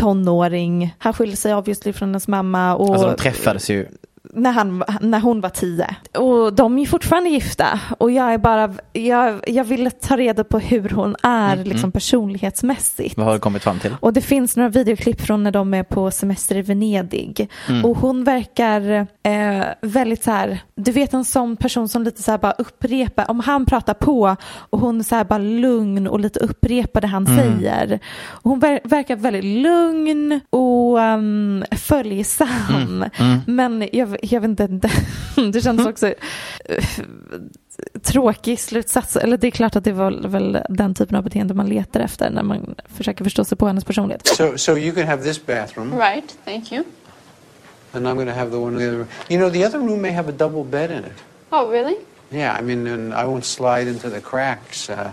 A: tonåring. Han skilde sig obviously från hennes mamma. Och
B: alltså de träffades ju.
A: när, han, när hon var tio. Och de är ju fortfarande gifta. Och jag är bara, jag, jag ville ta reda på hur hon är liksom personlighetsmässigt.
B: Mm, Vad har du kommit fram till?
A: Och det finns några videoklipp från när de är på semester i Venedig. Och hon verkar eh, väldigt så här, du vet en sån person som lite så här bara upprepar, om han pratar på och hon är så här bara lugn och lite upprepar det han säger. Och hon ver- verkar väldigt lugn och um, följsam. Men jag, jag vet inte, det känns också tråkig slutsats. Eller det är klart att det var väl den typen av beteende man letar efter när man försöker förstå sig på hennes personlighet.
C: So, so you can have this bathroom,
D: Right, thank you.
C: and I'm going to have the one in the other room. You know, the other room may have a double bed in it.
D: Oh, really?
C: Yeah, I mean, and I won't slide into the cracks. Uh,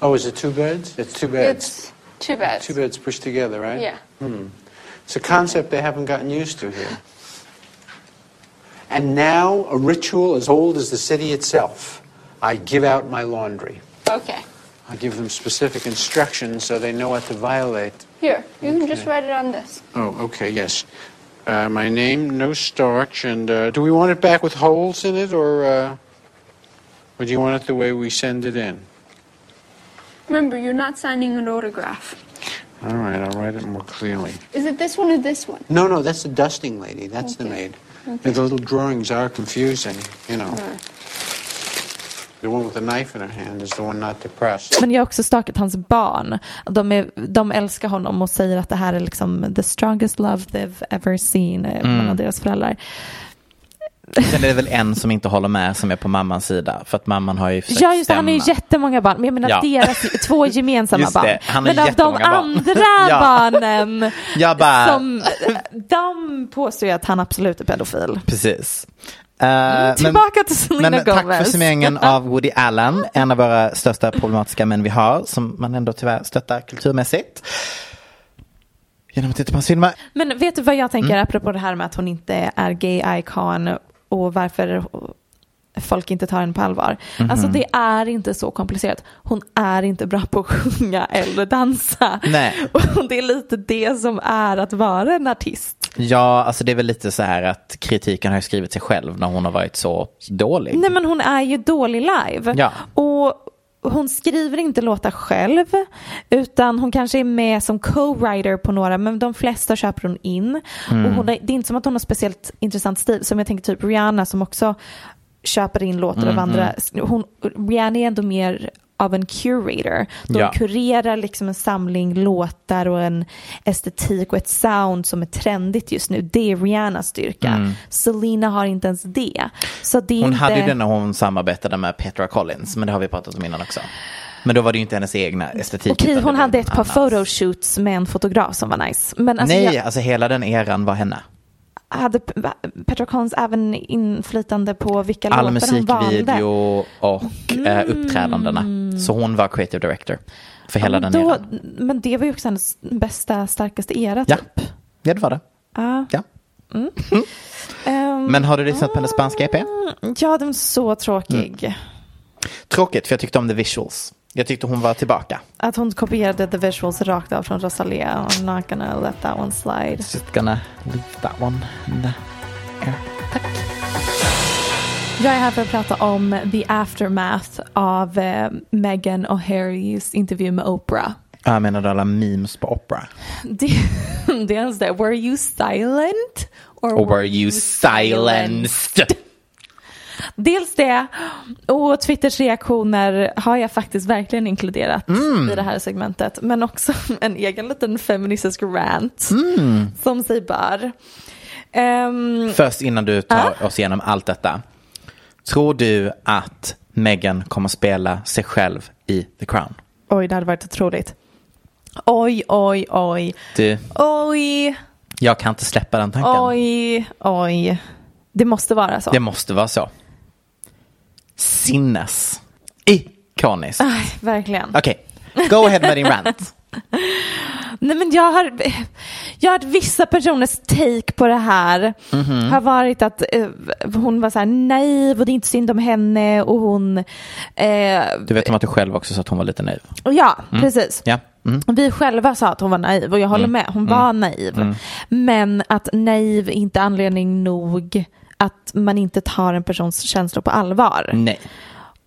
C: oh, is it two beds? It's two beds.
D: It's too bad.
C: two beds pushed together, right? Hmm.
D: Yeah.
C: It's a concept they haven't gotten used to here. And now, a ritual as old as the city itself. I give out my laundry.
D: Okay.
C: I give them specific instructions so they know what to violate.
D: Here, you can just write it on this.
C: Oh, okay, yes. Uh, my name, no starch, and uh, do we want it back with holes in it, or, uh, or do you want it the way we send it in?
D: Remember, you're not signing an autograph.
C: All right, I'll write it more clearly.
D: Is it this one or this one?
C: No, no, that's the dusting lady. That's the
D: Okay.
C: maid. The little drawings are confusing, you know. The one with the knife in her hand is the one not to press.
A: Men jag har också stakat hans barn. De, är, de älskar honom och säger att det här är liksom the strongest love they've ever seen eh,
B: Mm.
A: mellan deras föräldrar.
B: Sen är det väl en som inte håller med som är på mammans sida. För att mamman har ju försökt
A: Ja just det, han har ju
B: stämma.
A: jättemånga barn. Men jag menar
B: Ja.
A: deras två gemensamma
B: Just det,
A: barn.
B: han har
A: Men av de
B: jättemånga barn.
A: andra
B: Ja.
A: barnen.
B: Jag bara-
A: som, de påstår ju att han absolut är pedofil.
B: Precis. Eh, men-
A: Mm, Tillbaka till Selena
B: men
A: Gomez.
B: Tack för summeringen av Woody Allen, en av våra största problematiska män vi har, som man ändå tyvärr stöttar kulturmässigt. Genom att titta på hans filmer.
A: Men vet du vad jag tänker apropå det här med att hon inte är gay icon och varför folk inte tar henne på allvar. Alltså det är inte så komplicerat. Hon är inte bra på att sjunga eller dansa.
B: Nej.
A: Och det är lite det som är att vara en artist.
B: Ja, alltså det är väl lite så här att kritiken har ju skrivit sig själv när hon har varit så dålig.
A: Nej men hon är ju dålig live.
B: Ja.
A: Och hon skriver inte låtar själv utan hon kanske är med som co-writer på några men de flesta köper hon in.
B: Mm.
A: Och hon, är- det är inte som att hon har speciellt intressant stil som jag tänker typ Rihanna som också köper in låtar
B: Mm,
A: av andra. Hon, Rihanna är ändå mer av en curator. De
B: Ja.
A: kurerar liksom en samling låtar och en estetik och ett sound som är trendigt just nu. Det är Rihannas styrka.
B: Mm.
A: Selena har inte ens det. Så det är
B: Hon
A: inte...
B: hade ju den när hon samarbetade med Petra Collins, men det har vi pratat om innan också. Men då var det ju inte hennes egna estetik.
A: Okej,
B: utan det
A: hon
B: var
A: hade ett
B: någon
A: par
B: annans.
A: photoshoots med en fotograf som var nice. Men alltså,
B: Nej,
A: jag
B: alltså hela den eran var henne.
A: hade P- Petra Collins även inflytande på vilka
B: All
A: låtar hon valde?
B: musikvideo och eh, uppträdandena. Så hon var creative director för hela
A: men,
B: den
A: då,
B: eran.
A: men det var ju också hennes bästa, starkaste era
B: Ja.
A: typ.
B: Ja, det var det. Ja.
A: Ehm,
B: Men har du lyssnat på hennes spanska E EP?
A: ja, den är så tråkig.
B: Mm. Tråkigt, för jag tyckte om the visuals. Jag tyckte hon var tillbaka.
A: Att hon kopierade the visuals rakt av från Rosalia. I'm not gonna let that one slide.
B: Just gonna leave that one. there.
A: Jag är här för att prata om the aftermath av eh, Meghan O'Hareys intervju med Oprah.
B: Jag menar du alla memes på opera?
A: Det, det är ens det. Were you silent?
B: Or were you silenced?
A: Dels det. Och Twitters reaktioner har jag faktiskt verkligen inkluderat
B: Mm.
A: i det här segmentet. Men också en egen liten feministisk rant.
B: Mm.
A: Som sig bör. Ehm,
B: Först innan du tar oss igenom allt detta. Tror du att Meghan kommer spela sig själv i The Crown?
A: oj, det hade varit otroligt. Oj, oj, oj.
B: Du,
A: Oj.
B: Jag kan inte släppa den tanken.
A: Oj, oj. Det måste vara så.
B: Det måste vara så. Sinnes. Ikoniskt.
A: Aj, verkligen.
B: Okej, go ahead med din rant.
A: Nej, men jag har, jag har att vissa personers take på det här har varit att eh, hon var så här naiv och det är inte synd om henne och hon... Eh,
B: Du vet om att du själv också sa att hon var lite naiv.
A: ja, precis.
B: Ja. Mm.
A: Vi själva sa att hon var naiv och jag håller med, hon var naiv. Men att naiv är inte anledning nog att man inte tar en persons känslor på allvar.
B: Nej.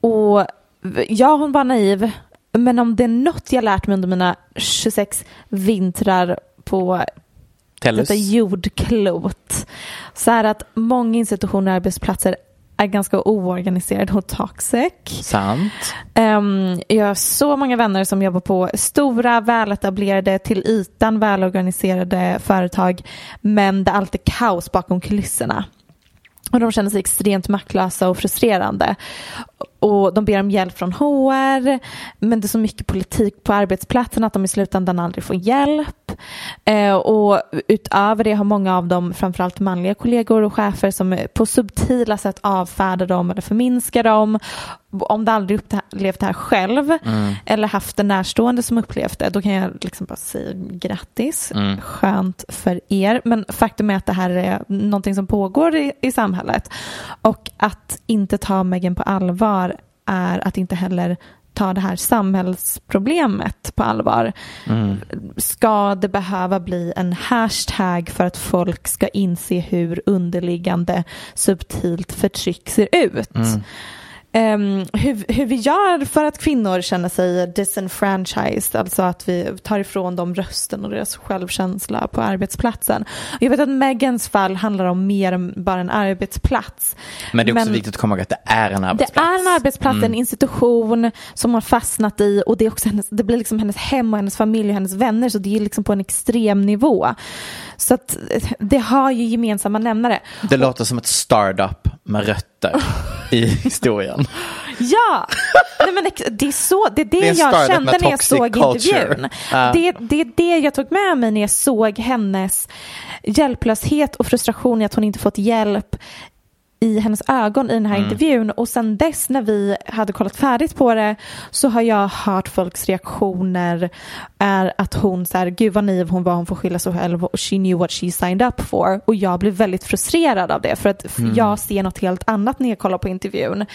A: Och v- ja, hon var naiv. Men om det är något jag lärt mig under mina 26 vintrar på
B: Tellus.
A: detta jordklot så är att många institutioner och arbetsplatser är ganska oorganiserade och toxic.
B: Sant.
A: Ehm, jag har så många vänner som jobbar på stora, väletablerade, till ytan välorganiserade företag men det är alltid kaos bakom kulisserna. Och de känner sig extremt maktlösa och frustrerande. Och de ber om hjälp från HR men det är så mycket politik på arbetsplatsen att de i slutändan aldrig får hjälp. Eh, och utöver det har många av dem, framförallt manliga kollegor och chefer som på subtila sätt avfärdar dem eller förminskar dem. Om du aldrig upplevt det här själv eller haft en närstående som upplevt det då kan jag liksom bara säga grattis. Skönt för er. Men faktum är att det här är någonting som pågår i, i samhället. Och att inte ta Megan på allvar är att inte heller ta det här samhällsproblemet på allvar. Ska det behöva bli en hashtag för att folk ska inse hur underliggande subtilt förtryck ser ut? Ehm, hur, hur vi gör för att kvinnor känner sig disenfranchised, alltså att vi tar ifrån dem rösten och deras självkänsla på arbetsplatsen. Och Jag vet att Megans fall handlar om mer än bara en arbetsplats.
B: Men det är också viktigt att komma ihåg att det är en
A: Det
B: arbetsplats. Mm.
A: är en arbetsplats, en institution som hon fastnat i och det, är också hennes, det blir liksom hennes hem och hennes familj och hennes vänner så det är liksom på en extrem nivå. Så att eh, det har ju gemensamma nämnare.
B: Det låter som ett startup med rötter i historien.
A: Ja, Nej, men ex- det är så, det är det,
B: Det är en
A: jag
B: startup
A: kände
B: med
A: när jag
B: toxic
A: såg
B: culture.
A: intervjun.
B: Ja.
A: Det, det är det jag tog med mig när jag såg hennes hjälplöshet och frustration i att hon inte fått hjälp i hennes ögon i den här intervjun och sen dess när vi hade kollat färdigt på det så har jag hört folks reaktioner är att hon så här, gud vad naiv hon var, hon får skylla sig själv och she knew what she signed up for och jag blev väldigt frustrerad av det för att f- jag ser något helt annat när jag kollar på intervjun.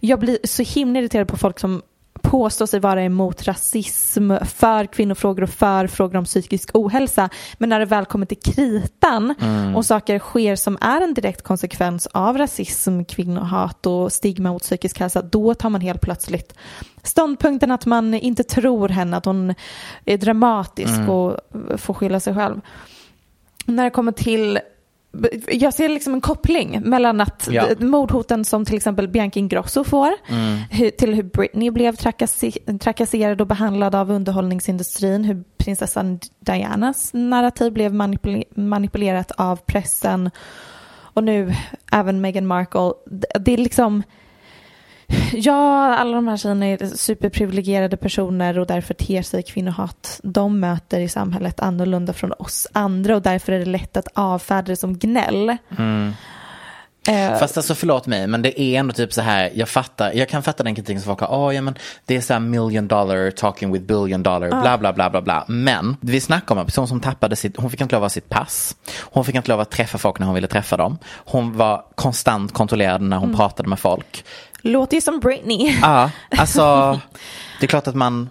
A: Jag blir så himla irriterad på folk som påstår sig vara emot rasism, för kvinnofrågor och för frågor om psykisk ohälsa. Men när det väl kommer till kritan och saker sker som är en direkt konsekvens av rasism, kvinnohat och stigma mot psykisk hälsa, då tar man helt plötsligt ståndpunkten att man inte tror henne, att hon är dramatisk och får skylla sig själv. När det kommer till jag ser liksom en koppling mellan att
B: Ja.
A: mordhoten som till exempel Bianca Ingrosso får hur, till hur Britney blev trakassi- trakasserad och behandlad av underhållningsindustrin, hur prinsessan Dianas narrativ blev manipul- manipulerat av pressen och nu även Meghan Markle. Det, det är liksom Ja, alla de här tjejerna är superprivilegierade personer och därför ter sig kvinnohat de möter i samhället annorlunda från oss andra och därför är det lätt att avfärda det som gnäll.
B: Mm.
A: Eh,
B: Fast alltså förlåt mig, men det är ändå typ så här, jag fattar, jag kan fatta den kritiken som folk har, "Åh, ja men det är så här million dollar talking with billion dollar, bla bla bla bla bla. Men vi snackar om en person som tappade sitt, hon fick inte lov att ha sitt pass, hon fick inte lov att träffa folk när hon ville träffa dem, hon var konstant kontrollerad när hon pratade med folk.
A: Låter ju som Britney.
B: Mm. Ja, alltså det är klart att man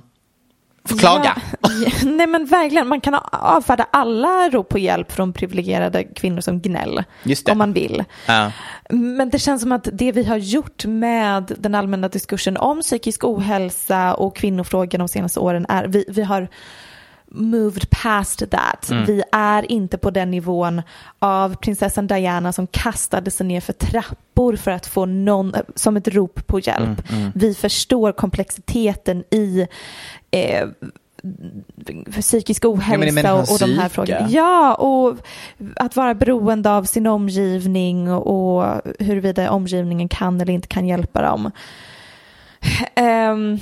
B: får klaga.
A: Ja, ja, nej men verkligen, man kan a- avfärda alla rop på hjälp från privilegierade kvinnor som gnäll.
B: Just det.
A: Om man vill.
B: Ja.
A: Men det känns som att det vi har gjort med den allmänna diskursen om psykisk ohälsa och kvinnofrågan de senaste åren är, vi, vi har moved past that. Vi är inte på den nivån av prinsessan Diana som kastade sig ner för trappor för att få någon, eh, som ett rop på hjälp. Vi förstår komplexiteten i eh, psykisk
B: men
A: ohälsa
B: jag menar
A: och, och de här
B: psyke.
A: frågorna. Ja, och att vara beroende av sin omgivning och huruvida omgivningen kan eller inte kan hjälpa dem. Ehm,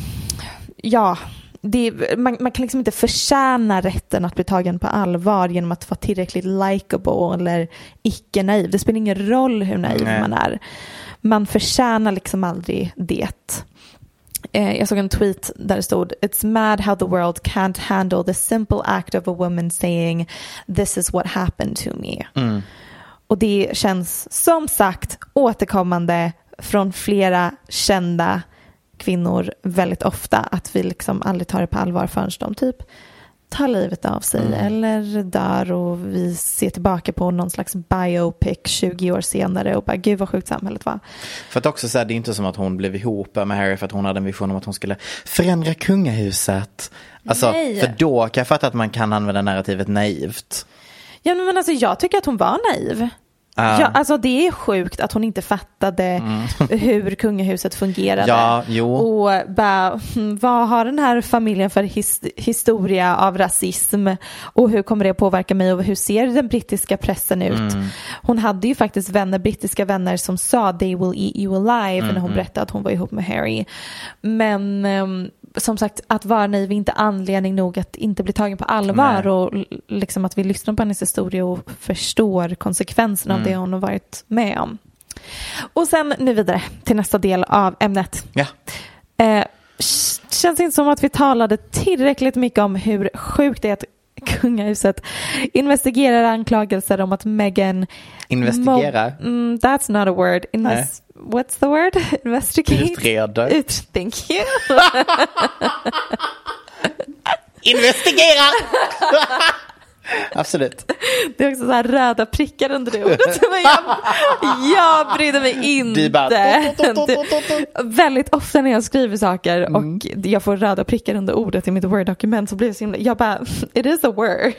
A: ja, det, är- man, man kan liksom inte förtjäna rätten att bli tagen på allvar genom att vara tillräckligt likable eller icke-naiv. Det spelar ingen roll hur naiv
B: Nej.
A: man är. Man förtjänar liksom aldrig det. Eh, jag såg en tweet där det stod It's mad how the world can't handle the simple act of a woman saying this is what happened to me.
B: Mm.
A: Och det känns som sagt återkommande från flera kända kvinnor väldigt ofta att vi liksom aldrig tar det på allvar förrän de typ tar livet av sig eller dör och vi ser tillbaka på någon slags biopic 20 år senare och bara gud vad sjukt samhället var.
B: För att också säga, det är inte som att hon blev ihop med Harry för att hon hade en vision om att hon skulle förändra kungahuset. Alltså,
A: Nej.
B: för då kan jag fatta att man kan använda narrativet naivt.
A: Ja men alltså jag tycker att hon var naiv. Ja, alltså det är sjukt att hon inte fattade hur kungahuset fungerade.
B: Ja, jo.
A: Och bara, "Hmm, vad har den här familjen för his- historia av rasism och hur kommer det påverka mig och hur ser den brittiska pressen ut? Hon hade ju faktiskt vänner, brittiska vänner som sa they will eat you alive när hon berättade att hon var ihop med Harry. Men ehm, som sagt, att vara naiv är inte anledning nog att inte bli tagen på allvar och l- liksom att vi lyssnar på hennes historia och förstår konsekvenserna av det hon har varit med om. Och sen nu vidare till nästa del av ämnet.
B: Ja.
A: Eh, s- känns inte som att vi talade tillräckligt mycket om hur sjukt det är att kungahuset investigerar anklagelser om att Meghan...
B: Investigerar?
A: Mo- mm, that's not a word. Inves- what's the word? Investigate?
B: Utreder.
A: Ut- thank you.
B: Investigera! Absolut.
A: Det är också så här röda prickar under det ordet. Men jag, jag brydde mig inte.
B: Du bara, "Tot, tot, tot, tot, tot,
A: Väldigt ofta när jag skriver saker
B: Mm.
A: och jag får röda prickar under ordet i mitt word-dokument så blir det så himla, jag bara, it is a word.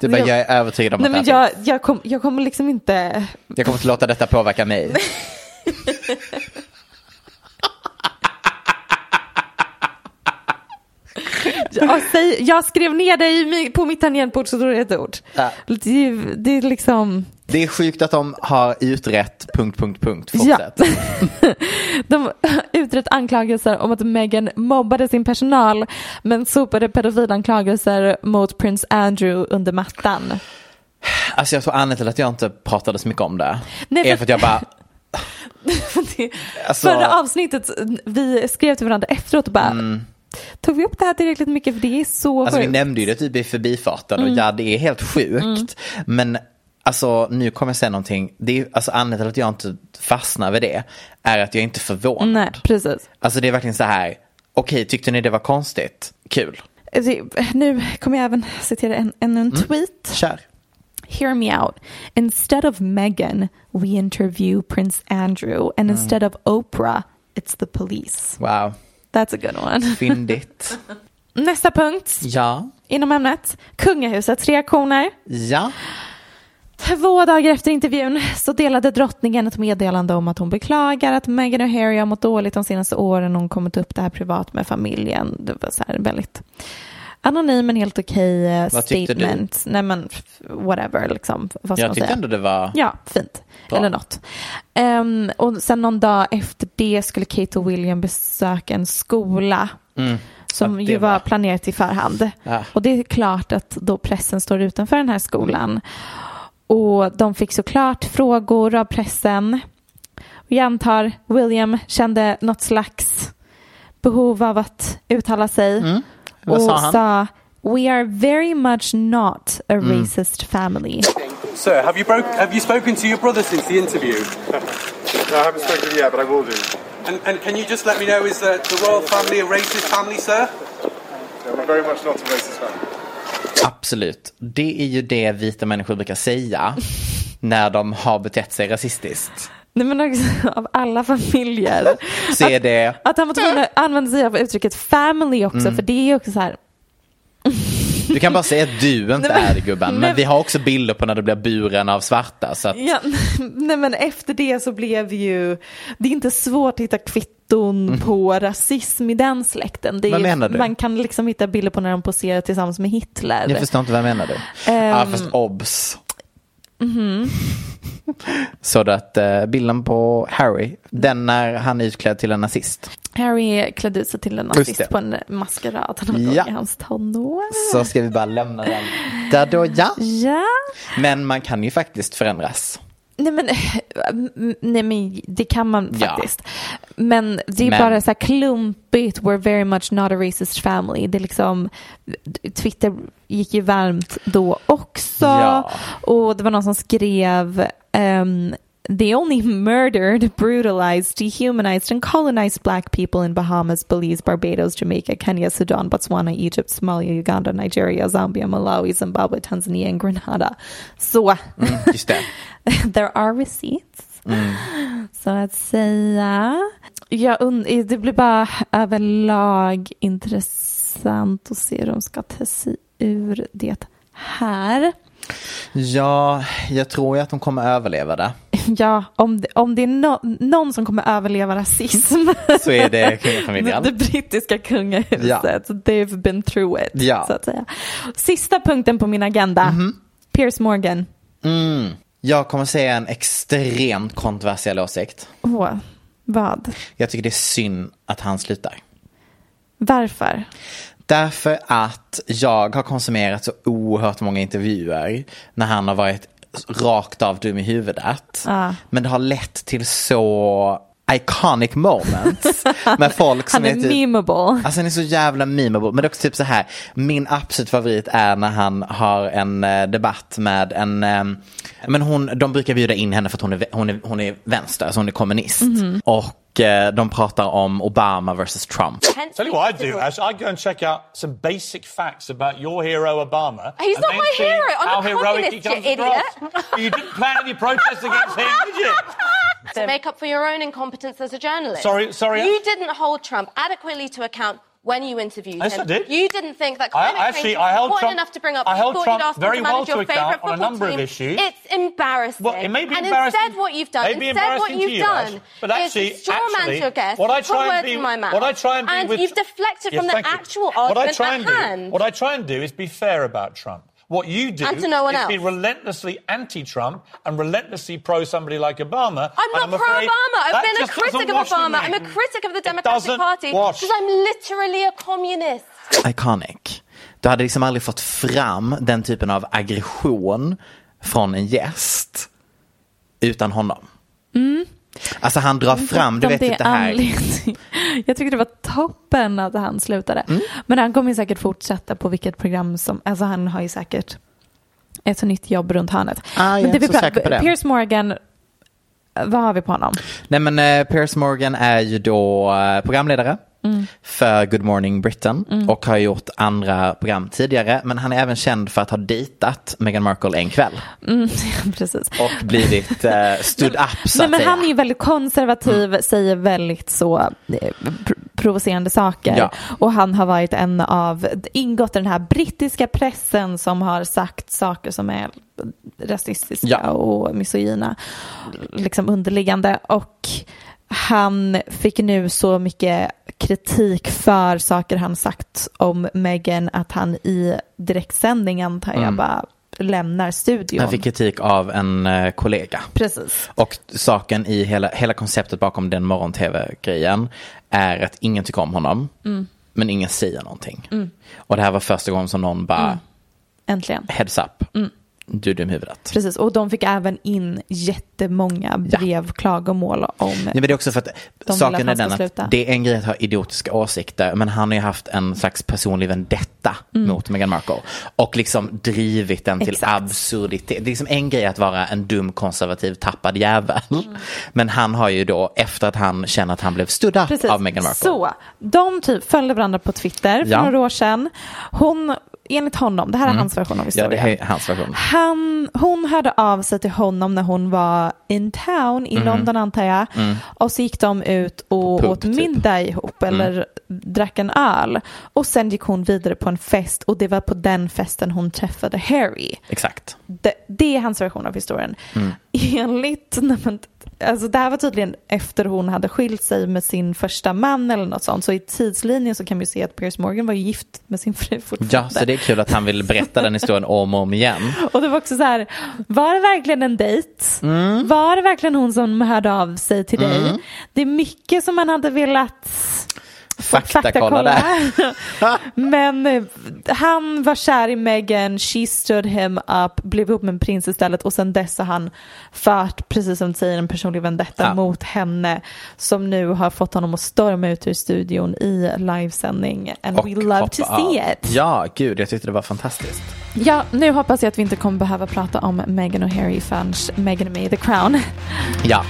B: Du bara, jag är övertygad om
A: Nej
B: att det
A: men
B: här
A: jag,
B: finns.
A: jag, kom, jag kommer liksom inte,
B: jag kommer inte låta detta påverka mig.
A: jag, säg, jag skrev ner dig i mi- på mitt tangentbord så står det ett ord.
B: Ja.
A: Det, är ju- det är liksom,
B: Det är sjukt att de har utrett... Punkt, punkt, punkt. Fortsätt.
A: Ja. De har utrett anklagelser om att Meghan mobbade sin personal men sopade pedofilanklagelser mot prins Andrew under mattan.
B: Alltså jag tror anledningen till att jag inte pratade så mycket om det.
A: Nej, för-
B: är för att jag bara,
A: Det-
B: Alltså-
A: Förra avsnittet, vi skrev till varandra efteråt och bara Tog vi upp det här tillräckligt mycket för det är så
B: Mm. Alltså vi
A: sjukt." Mm.
B: nämnde ju det typ i förbifarten och ja det är helt sjukt. Men alltså nu kommer jag säga någonting. Det är, alltså anledningen till att jag inte fastnar vid det är att jag inte är förvånad.
A: Mm, Nej, precis.
B: Alltså det är verkligen så här. Okej, tyckte ni det var konstigt? Kul.
A: Alltså, Nu kommer jag även citera en, en,
B: Mm.
A: en tweet.
B: Kör.
A: Hear me out. Instead of Meghan, we interview Prince Andrew
B: Mm.
A: and instead of Oprah, it's the police.
B: Wow.
A: That's a good one.
B: Fyndigt.
A: Nästa punkt
B: ja.
A: inom ämnet. Kungahusets reaktioner.
B: Ja.
A: Två dagar efter intervjun så delade drottningen ett meddelande om att hon beklagar att Meghan och Harry har mått dåligt de senaste åren och hon kommit upp det här privat med familjen. Det var så här väldigt anonym men helt okej eh,
B: Vad tyckte du?
A: statement. Nej men f- whatever liksom. Vad ska
B: Jag
A: man
B: tyckte
A: säga?
B: ändå det var.
A: Ja, fint.
B: Bra.
A: Eller något. Ehm, och sen någon dag efter det skulle Kate och William besöka en skola. Som
B: Mm. Ja, det
A: ju var
B: var-
A: planerat i förhand.
B: Ja.
A: Och det är klart att då pressen står utanför den här skolan. Och de fick såklart frågor av pressen. Och jag antar William kände något slags behov av att uttala sig.
B: Mm. Vad
A: och
B: sa han?
A: sa We are very much not a
B: Mm.
A: racist family.
E: Sir, have you broke? Have you spoken to your brother since the interview?
F: No, I haven't spoken yet, but I will do.
E: And, and can you just let me know is the, the royal family a racist family, sir?
F: No, we're very much not a racist family.
B: Absolut. Det är ju det vita människor brukar säga. När de har betett sig rasistiskt.
A: Nej men också av alla familjer.
B: Så är det. Mm.
A: Att han var tvungen att använda sig av uttrycket family också för det är ju också så här.
B: Du kan bara säga att du inte
A: Nej, men-
B: är det gubben.
A: nej.
B: Men vi har också bilder på när du blir buren av svarta. Så att,
A: Ja, nej men efter det så blev ju, det är inte svårt att hitta kvitton på rasism i den släkten. Det är
B: Mm. Vad
A: ju-
B: menar du?
A: Man kan liksom hitta bilder på när de poserar tillsammans med Hitler.
B: jag förstår inte vad jag menar du.
A: Ehm.
B: ja, fast obs.
A: Mhm.
B: Så att eh, bilden på Harry, den när han är utklädd till en nazist.
A: Harry klädde ut sig till en
G: Just
A: nazist
G: det.
A: på en maskerad han hade
G: Ja.
A: gått i hans tonår.
B: Så ska vi bara lämna den där då, ja.
A: Ja.
B: Men man kan ju faktiskt förändras.
A: Nej men, nej men det kan man
B: Ja.
A: faktiskt. Men det är
B: Men-
A: bara så här klumpigt, we're very much not a racist family. Det är liksom, Twitter gick ju varmt då också.
B: Ja.
A: Och det var någon som skrev ehm, They only murdered, brutalized, dehumanized and colonized black people in Bahamas, Belize, Barbados, Jamaica, Kenya, Sudan, Botswana, Egypt, Somalia, Uganda, Nigeria, Zambia, Malawi, Zimbabwe, Tanzania and Grenada. Så.
B: Just det.
A: There are receipts.
B: Mm.
A: Så att säga. Jag und- eh, det blir bara överlag intressant att se hur de ska ta sig ur det här.
B: Ja, jag tror ju att de kommer överleva det.
A: Ja, om det, om det är no- någon som kommer överleva rasism.
B: Så är det
A: Det
B: kungafamiljen.
A: brittiska kungahuset. They've been through it.
B: Ja. Mhm.
A: Så att säga. Sista punkten på min agenda. Piers Morgan.
B: Mm. Jag kommer säga en extremt kontroversiell åsikt.
A: Åh, vad?
B: Jag tycker det är synd att han slutar.
A: Varför?
B: Därför att jag har konsumerat så oerhört många intervjuer när han har varit rakt av dum i huvudet.
A: Ja.
B: Men det har lett till så iconic moments med folk som
A: Han är memeable.
B: Alltså han är så jävla memeable. Men det är också typ så här, min absolut favorit är när han har en eh, debatt med en, eh, men hon, de brukar bjuda in henne för att hon är, vä- hon är, hon är vänster, alltså hon är kommunist.
A: Mhm.
B: Och eh, de pratar om Obama versus Trump.
H: Tell you what I'd do, Ash. I'd go and check out some basic facts about your hero, Obama.
I: He's
H: and
I: not
H: then
I: my
H: see
I: hero. I'm a
H: how heroic he
I: communist, you
H: comes
I: idiot.
H: across. But you didn't plan any protests against him, did you?
I: to make up for your own incompetence as a journalist.
H: Sorry- sorry,
I: You
H: I-
I: didn't hold Trump adequately to account when you interviewed
H: Yes,
I: him.
H: I did.
I: You didn't think that
H: I- I
I: climate change
H: actually-
I: was
H: I held
I: important
H: Trump-
I: enough to bring up.
H: I
I: You
H: held
I: thought
H: Trump
I: you'd ask him
H: very
I: to
H: well
I: manage
H: to
I: your
H: account
I: favourite
H: on a
I: football
H: number of
I: team.
H: issues.
I: It's embarrassing.
H: Well, it may be
I: and
H: embarrassing-
I: instead, what you've done,
H: may be
I: instead what
H: embarrassing to
I: you've
H: you, Ash,
I: done
H: but actually-
I: is strawman
H: actually,
I: your guest,
H: what I try
I: put
H: and
I: words
H: be-
I: in my mouth,
H: what I try and be with-
I: you've deflected
H: Yes,
I: from the
H: thank you.
I: actual
H: What I
I: argument
H: try
I: at
H: and do,
I: hand.
H: what I try and do is be fair about Trump. What you do
I: And to no one
H: is
I: else.
H: be relentlessly anti-Trump and relentlessly pro somebody like Obama.
I: I'm
H: and
I: not pro
H: afraid
I: Obama.
H: that
I: I've been a
H: just doesn't
I: critic of
H: wash with
I: Obama.
H: me.
I: I'm a critic of the
H: doesn't
I: Democratic Party
H: wash.
I: because I'm literally a communist.
B: Iconic. Du hade liksom aldrig fått fram den typen av aggression från en gäst utan honom.
A: Mm.
B: Alltså han drar fram, du
A: Om
B: vet
A: det
B: typ det
A: är
B: här.
A: anledning. Jag tyckte det var toppen att han slutade.
B: Mm.
A: Men han kommer ju säkert fortsätta på vilket program som, alltså han har ju säkert ett så nytt jobb runt hörnet.
B: Ah, jag
A: Men
B: är
A: det
B: inte
A: blir
B: så
A: bra.
B: säker på det.
A: Piers Morgan, vad har vi på honom?
B: Nej men eh, Piers Morgan är ju då eh, programledare
A: Mm.
B: för Good Morning Britain
A: Mm.
B: och har gjort andra program tidigare. Men han är även känd för att ha dejtat Meghan Markle en kväll
A: Mm, precis.
B: och blivit eh, stood up så
A: Nej, men
B: att säga. Mm.
A: han är ju väldigt konservativ, säger väldigt så eh, pr- provocerande saker.
B: Ja.
A: Och han har varit en av, ingått i den här brittiska pressen som har sagt saker som är rasistiska och misogyna, liksom underliggande. Och han fick nu så mycket kritik för saker han sagt om Meghan att han i direktsändning antar jag
B: Mm.
A: bara lämnar studion.
B: Han fick kritik av en eh, kollega.
A: Precis.
B: Och saken i hela, hela konceptet bakom den morgon-tv-grejen är att ingen tycker om honom,
A: Mm.
B: men ingen säger någonting.
A: Mm.
B: Och det här var första gången som någon bara,
A: Mm. Äntligen.
B: heads up,
A: Mm.
B: du är dum i huvudet.
A: Precis, och de fick även in jättemånga brev, klagomål om...
B: Nej, men det är också för att
A: vill att
B: saken
A: han
B: är
A: ska
B: den att
A: sluta.
B: det är en grej att ha idiotiska åsikter men han har ju haft en slags personlig vendetta
A: Mm.
B: mot Meghan Markle och liksom drivit den till
A: Exakt.
B: absurditet. Det är liksom en grej att vara en dum konservativ tappad jävel.
A: Mm.
B: Men han har ju då efter att han känner att han blev stood up
A: Precis.
B: av Meghan Markle.
A: Så, de typ följde varandra på Twitter för
B: Ja.
A: några år sedan. Hon, enligt honom, det här är
B: Mm.
A: hans version av
B: Ja,
A: historien.
B: det är hans version.
A: Han, hon hörde av sig till honom när hon var in town i
B: Mhm.
A: London antar jag.
B: Mm.
A: Och så gick de ut och
B: På pub, typ.
A: åt middag ihop eller
B: Mm.
A: drack en öl. Och sen gick hon vidare på en fest och det var på den festen hon träffade Harry.
B: Exakt.
A: Det, det är hans version av historien.
B: Mm.
A: Enligt nej, men, alltså det här var tydligen efter hon hade skilt sig med sin första man eller något sånt. Så i tidslinjen så kan vi se att Piers Morgan var ju gift med sin fru fortfarande.
B: Ja, så det är kul att han vill berätta den historien om och om igen.
A: Och det var också så här, var det verkligen en dejt?
B: Mm.
A: Var det verkligen hon som hörde av sig till dig?
B: Mm.
A: Det är mycket som man hade velat
B: Faktakolla det.
A: Men eh, han var kär i Meghan, she stood him up, blev ihop med en prins istället och sen dess har han fört, precis som du säger, en personlig vendetta
B: Ja.
A: mot henne som nu har fått honom att storma ut ur studion i livesändning. And we love to
B: Hoppa av.
A: see it.
B: Ja, gud, jag tyckte det var fantastiskt.
A: Ja, nu hoppas jag att vi inte kommer behöva prata om Meghan och Harry förrän Meghan och May the Crown.
B: Ja,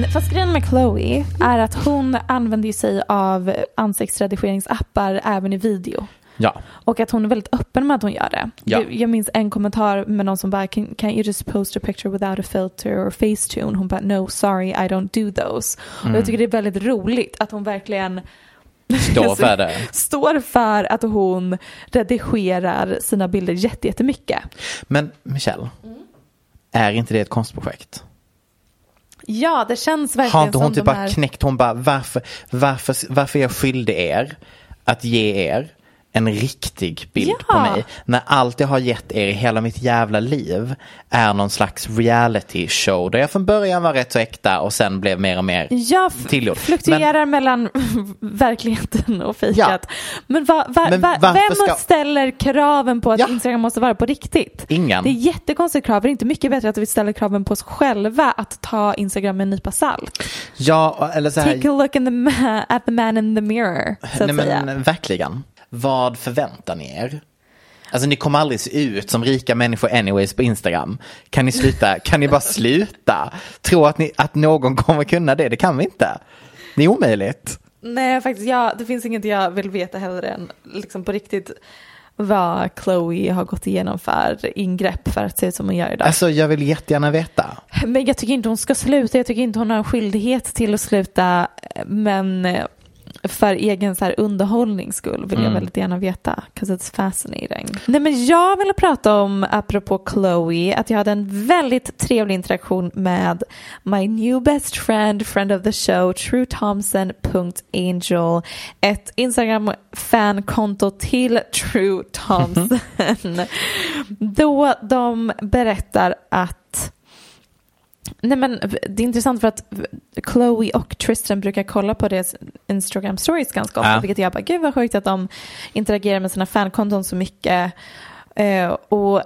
A: Nej, Fast grejen med Chloe är att hon använder ju sig av ansiktsredigeringsappar även i video.
B: ja.
A: Och att hon är väldigt öppen med att hon gör det.
B: Ja.
A: Jag, jag minns en kommentar med någon som bara can, can you just post a picture without a filter or facetune? Hon bara no sorry I don't do those.
B: Mm.
A: Och jag tycker det är väldigt roligt att hon verkligen Alltså,
B: Står för det.
A: står för att hon redigerar sina bilder jätte- jättemycket.
B: Men Michelle, är inte det ett konstprojekt?
A: Ja, det känns verkligen
B: Har inte hon
A: som
B: typ
A: de
B: bara
A: här...
B: knäckt, hon bara varför, varför, varför är jag skyldig er att ge er en riktig bild på mig när allt jag har gett er i hela mitt jävla liv är någon slags reality show där jag från början var rätt så äkta och sen blev mer och mer
A: Jag
B: tillgjord. Men,
A: fluktuerar mellan verkligheten och fikat. Men, va, va,
B: Men
A: va,
B: varför
A: vem
B: ska-
A: ställer kraven på att Instagram måste vara på riktigt?
B: Ingen.
A: Det är jättekonstigt krav. Det är inte mycket bättre att vi ställer kraven på oss själva att ta Instagram med en nypa salt.
B: ja, eller så här,
A: Take a look in the ma- at the man in the mirror, så att
B: nej,
A: säga.
B: men, verkligen. Vad förväntar ni er? Alltså ni kommer aldrig se ut som rika människor anyways på Instagram. Kan ni sluta, kan ni bara sluta? Tro att, ni, att någon kommer kunna det, det kan vi inte. Det är omöjligt.
A: Nej, faktiskt, ja, det finns inget jag vill veta hellre än liksom på riktigt vad Chloe har gått igenom för ingrepp för att se ut som hon gör idag.
B: Alltså jag vill jättegärna veta.
A: Men jag tycker inte hon ska sluta. Jag tycker inte hon har en skyldighet till att sluta. Men eh, för egen så här underhållnings skull vill
G: Mm.
A: jag väldigt gärna veta. 'Cause it's fascinating. Nej men jag ville prata om, apropå Chloe, att jag hade en väldigt trevlig interaktion med my new best friend, friend of the show, truethompson.angel. Ett Instagram-fankonto till True Thompson. Då de berättar att Nej men det är intressant för att Chloe och Tristan brukar kolla på deras Instagram stories ganska ofta.
G: Ja.
A: Vilket jag bara, gud vad sjukt att de interagerar med sina fankonton så mycket. Eh, och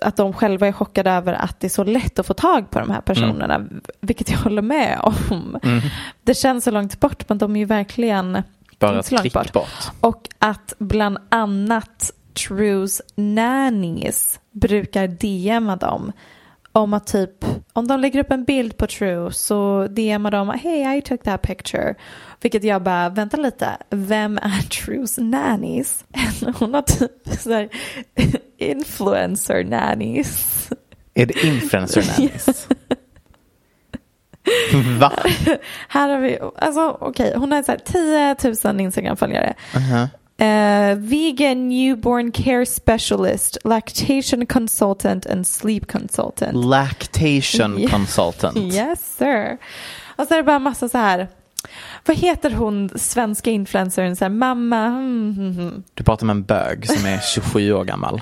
A: att de själva är chockade över att det är så lätt att få tag på de här personerna. Vilket jag håller med om.
G: Mm.
A: Det känns så långt bort men de är ju verkligen
B: Bara
A: inte
B: ett
A: så långt
B: klick
A: bort.
B: bort.
A: Och att bland annat Trues nannies brukar DMa dem om att typ om de lägger upp en bild på True så DMar de hey I took that picture vilket jag bara vänta lite vem är Trues nannies? Hon har typ så här influencer nannies.
B: Är det influencer nannies? Va?
A: Här har vi, alltså okej, hon har så här 10 000 Instagram-följare.
B: Mhm.
A: Eh, vegan newborn care specialist, lactation consultant and sleep consultant.
B: Lactation
A: Ja.
B: consultant.
A: Yes sir. Och så är det bara massa så här, vad heter hon svenska influencern, så här, mamma, mm, mm, mm.
B: Du pratar med en bög som är 27 år gammal.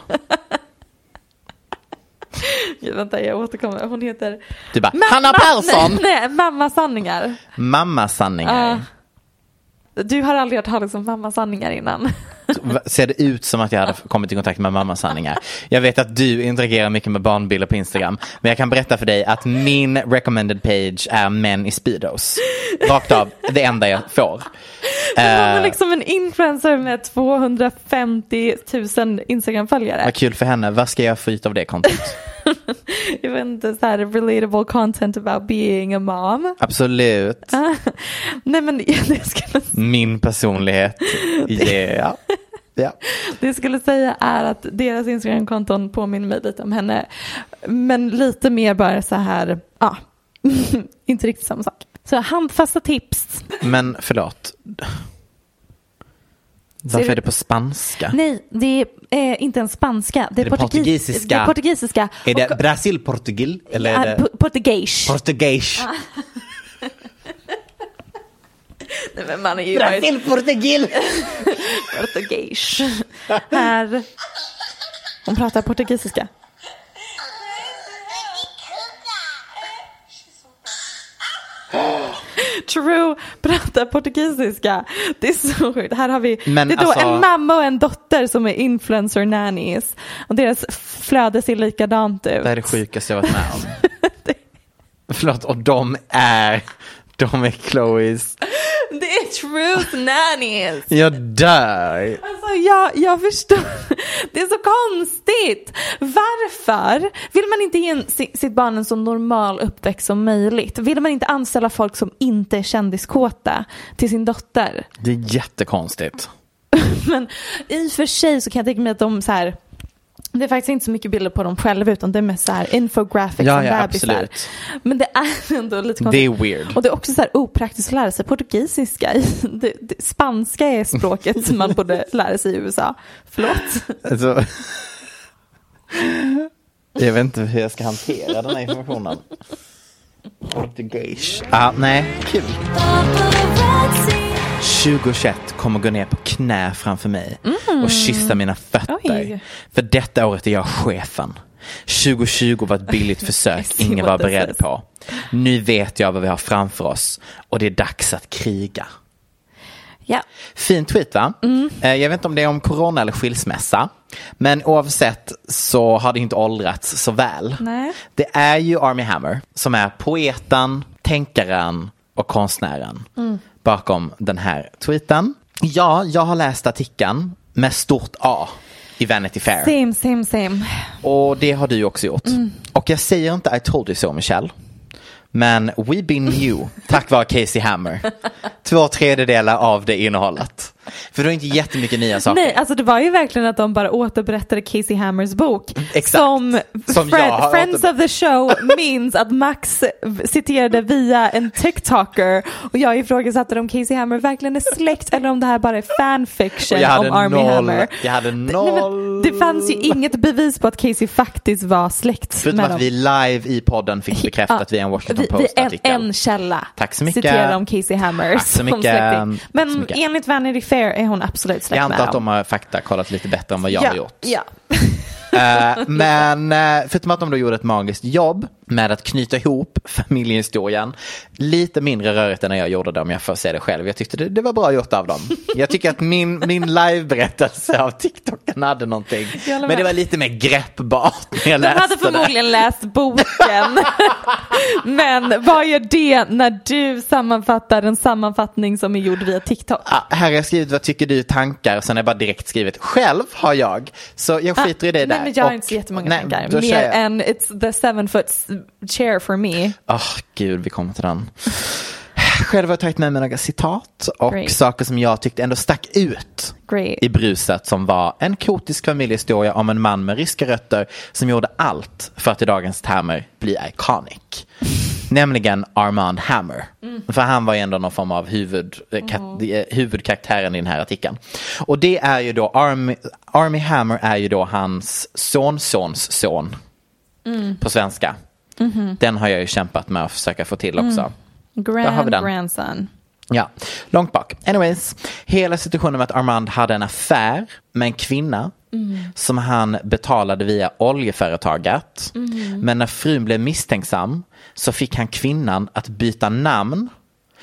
A: Gud, vänta jag återkommer, hon heter
B: Du bara,
A: Ma-
B: Hanna
A: ma-
B: Persson!
A: Nej, nej mamma sanningar.
B: Mammasanningar.
A: du har aldrig hört talas om mamma sanningar innan.
B: Va- Ser det ut som att jag hade kommit i kontakt med mammasanningar? Jag vet att du interagerar mycket med barnbilder på Instagram. Men jag kan berätta för dig att min recommended page är män i speedos. Rakt av, det enda jag får.
A: Hon är
B: Eh,
A: liksom en influencer med 250 000 Instagram-följare.
B: vad kul för henne. Vad ska jag få ut av det kontot?
A: Jag vet inte, så här relatable content about being a mom.
B: Absolut.
A: Ah, Nej men det ska
B: Min personlighet. Yeah. Ja.
A: Det jag skulle säga är att deras Instagram-konton påminner mig lite om henne. Men lite mer bara så här, ja, inte riktigt samma sak. Så handfasta tips.
B: Men förlåt. Varför är det på spanska?
A: Nej, det är eh, inte ens spanska. Det är,
G: Är det
A: portugis-
G: portugisiska?
A: Det är portugisiska.
G: Är det
A: Och-
G: Brasil Portugil? Eller är
A: Ja,
G: det
A: po- portugis.
G: Portugis?
A: Nej, men man är ju...
G: Brasil, Portugil!
A: Portugis. Här. Hon pratar portugisiska. True pratar portugisiska. Det är så sjukt. Här har vi
B: Men
A: det är då
B: alltså-
A: en mamma och en dotter som är influencer nannies. Och deras flöde ser likadant ut.
B: Det här är det sjukaste jag varit med om. Förlåt, och de är, de är Chloes.
A: Det är truth nannies.
B: Jag dör.
A: Alltså jag, jag förstår. Det är så konstigt. Varför vill man inte ge en, si- sitt barn en så normal uppväxt som möjligt? Vill man inte anställa folk som inte är kändiskåta till sin dotter?
B: Det är jättekonstigt.
A: Men i och för sig så kan jag tänka mig att de så här det är faktiskt inte så mycket bilder på dem själva utan det är mest så här infographics
B: Ja,
A: om
B: ja,
A: bebisar.
B: absolut.
A: Men det är ändå lite
B: Det är
A: konstigt.
B: weird.
A: Och det är också så här opraktiskt att lära sig portugisiska. Det, det, spanska är språket som man borde lära sig i USA. Förlåt.
B: Alltså, jag vet inte hur jag ska hantera den här informationen. Portugis. Ah, nej, kul. 2021 kommer gå ner på knä framför mig
G: Mm.
B: och kyssa mina fötter.
G: Oj.
B: För detta året är jag chefen. 2020 var ett billigt försök
G: see
B: ingen
G: what
B: var
G: this
B: beredd
G: is.
B: på. Nu vet jag vad vi har framför oss och det är dags att kriga.
A: Ja.
B: Fin tweet va?
A: Mm.
B: Eh, Jag vet inte om det är om corona eller skilsmässa. Men oavsett så har det inte åldrats så väl.
A: Nej.
B: Det är ju Army Hammer som är poeten, tänkaren och konstnären
G: Mm.
B: bakom den här tweeten. Ja, jag har läst artikeln med stort A i Vanity Fair.
A: Same, same, same.
B: Och det har du ju också gjort.
A: Mm.
B: Och jag säger inte I told you so Michelle. Men we been new tack vare Casey Hammer. Två tredjedelar av det innehållet. För det är inte jättemycket nya saker.
A: Nej, alltså det var ju verkligen att de bara återberättade Casey Hammers bok. Som,
B: Som
A: Fred-
B: jag har
A: Friends of the show minns att Max citerade via en TikToker och jag ifrågasatte om Casey Hammer verkligen är släkt eller om det här bara är
B: Och
A: fanfiction
B: jag hade
A: om Army
B: noll.
A: Hammer.
B: Jag hade
A: Nej,
B: noll.
A: men det fanns ju inget bevis på att Casey faktiskt var släkt
B: Förutom
A: med
B: att vi
A: dem.
B: live i podden fick bekräftat via en Washington
A: Vi, vi en,
B: Post-artikel.
A: en källa
B: Tack så mycket.
A: citerade om Casey Hammer
B: Tack så
A: som
B: mycket.
A: släkting. Men
B: Tack så mycket.
A: enligt Vanity Fair är hon absolut
B: Jag
A: släkt med
B: antar att
A: dem.
B: de har fakta kollat lite bättre än vad jag
A: ja,
B: har gjort.
A: Ja,
B: Eh, men eh, förutom att de då gjorde ett magiskt jobb med att knyta ihop familjehistorien. Lite mindre rörigt än när jag gjorde det om jag får säga det själv. Jag tyckte det, det var bra gjort av dem. Jag tycker att min, min live-berättelse av TikToken hade någonting.
A: Jag håller
B: Men det
A: med.
B: var lite mer greppbart när jag
A: De
B: läste
A: hade förmodligen läst boken. Men vad gör det när du sammanfattar en sammanfattning som är gjord via TikTok?
B: Ah, här har jag skrivit vad tycker du tankar och sen har jag bara direkt skrivit själv har jag. Så jag skiter i det där.
A: Ah, Nej, men jag har
B: Och-
A: inte så jättemånga
B: nej,
A: tankar.
B: då kör
A: Mer
B: jag.
A: än it's the seven foot s- chair for me.
B: Åh, Ah, gud, vi kommer till den. Själv har jag tagit med mig några citat och
A: Great.
B: saker som jag tyckte ändå stack ut
A: Great.
B: i bruset som var en kotisk familjehistoria om en man med ryska rötter som gjorde allt för att i dagens termer bli iconic. Nämligen Armand Hammer.
G: Mm.
B: För han var ju ändå någon form av huvud, eh, kat,
A: Mm.
B: eh, huvudkaraktären i den här artikeln. Och det är ju då, Army, Army Hammer är ju då hans sonsons son
A: Mm.
B: på svenska.
A: Mhm.
B: Den har jag ju kämpat med att försöka få till också.
A: Mm.
B: Där har vi
A: Grand
B: den.
A: grandson.
B: Ja, långt bak. Anyways, hela situationen med att Armand hade en affär med en kvinna
G: Mm.
B: som han betalade via oljeföretaget.
G: Mhm.
B: Men när frun blev misstänksam så fick han kvinnan att byta namn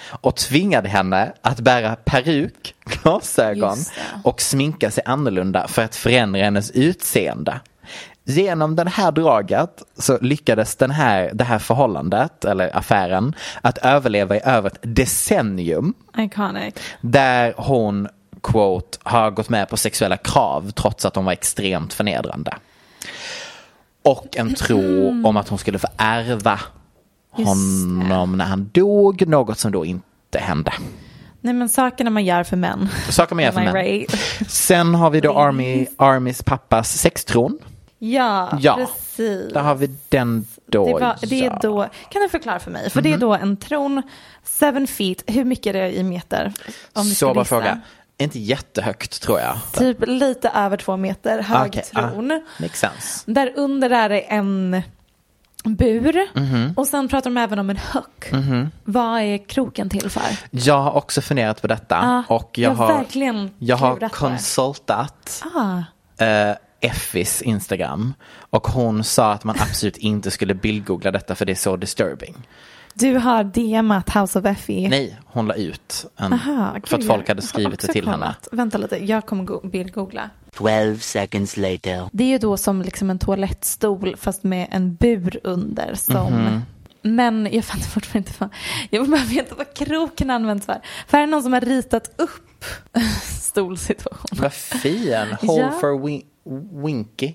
B: och tvingade henne att bära peruk, glasögon
G: Just det.
B: och sminka sig annorlunda för att förändra hennes utseende. Genom det här draget så lyckades den här, det här förhållandet, eller affären, att överleva i över ett decennium
A: Iconic.
B: där hon, quote, har gått med på sexuella krav trots att de var extremt förnedrande. Och en tro om att hon skulle få ärva
A: Just
B: honom när han dog, något som då inte hände.
A: Nej men sakerna man gör för män.
B: Saker man gör för
A: Am I
B: män.
A: Right?
B: Sen har vi då Army, Armys pappas sextron.
A: Ja,
B: Ja.
A: precis.
B: Där har vi den då.
A: Det, var, det
B: ja.
A: är då, kan du förklara för mig? För det
B: Mhm.
A: är då en tron, seven feet, hur mycket är det i meter? Om vi ska
B: Så bra
A: gissa.
B: fråga. Inte jättehögt tror jag.
A: Typ lite över två meter hög
B: Okej, ah,
A: tron.
B: makes sense.
A: Där under är det en bur.
B: Mhm.
A: Och sen pratar de även om en höck.
B: Mhm.
A: Vad är kroken till för?
B: Jag har också funderat på detta.
A: Ja,
B: och jag,
A: jag
B: har,
A: verkligen
B: jag har
A: klurat på det.
B: konsultat
A: Ah.
B: eh, Effis Instagram. Och hon sa att man absolut inte skulle bildgoogla detta för det är så disturbing.
A: Du har DMat House of E Effie.
B: Nej, hon la ut en,
A: Aha, gud,
B: för att folk hade
A: jag har
B: skrivit det
A: också
B: till henne.
A: kollat. Vänta lite, jag kommer go- bildgoogla.
J: 12 seconds later.
A: Det är ju då som liksom en toalettstol fast med en bur under som
J: Mhm.
A: Men jag fattar fortfarande inte vad, jag behöver inte vad kroken används för. För här är någon som har ritat upp stolsituation.
B: Vad fin, hole
A: Ja.
B: for win- winky.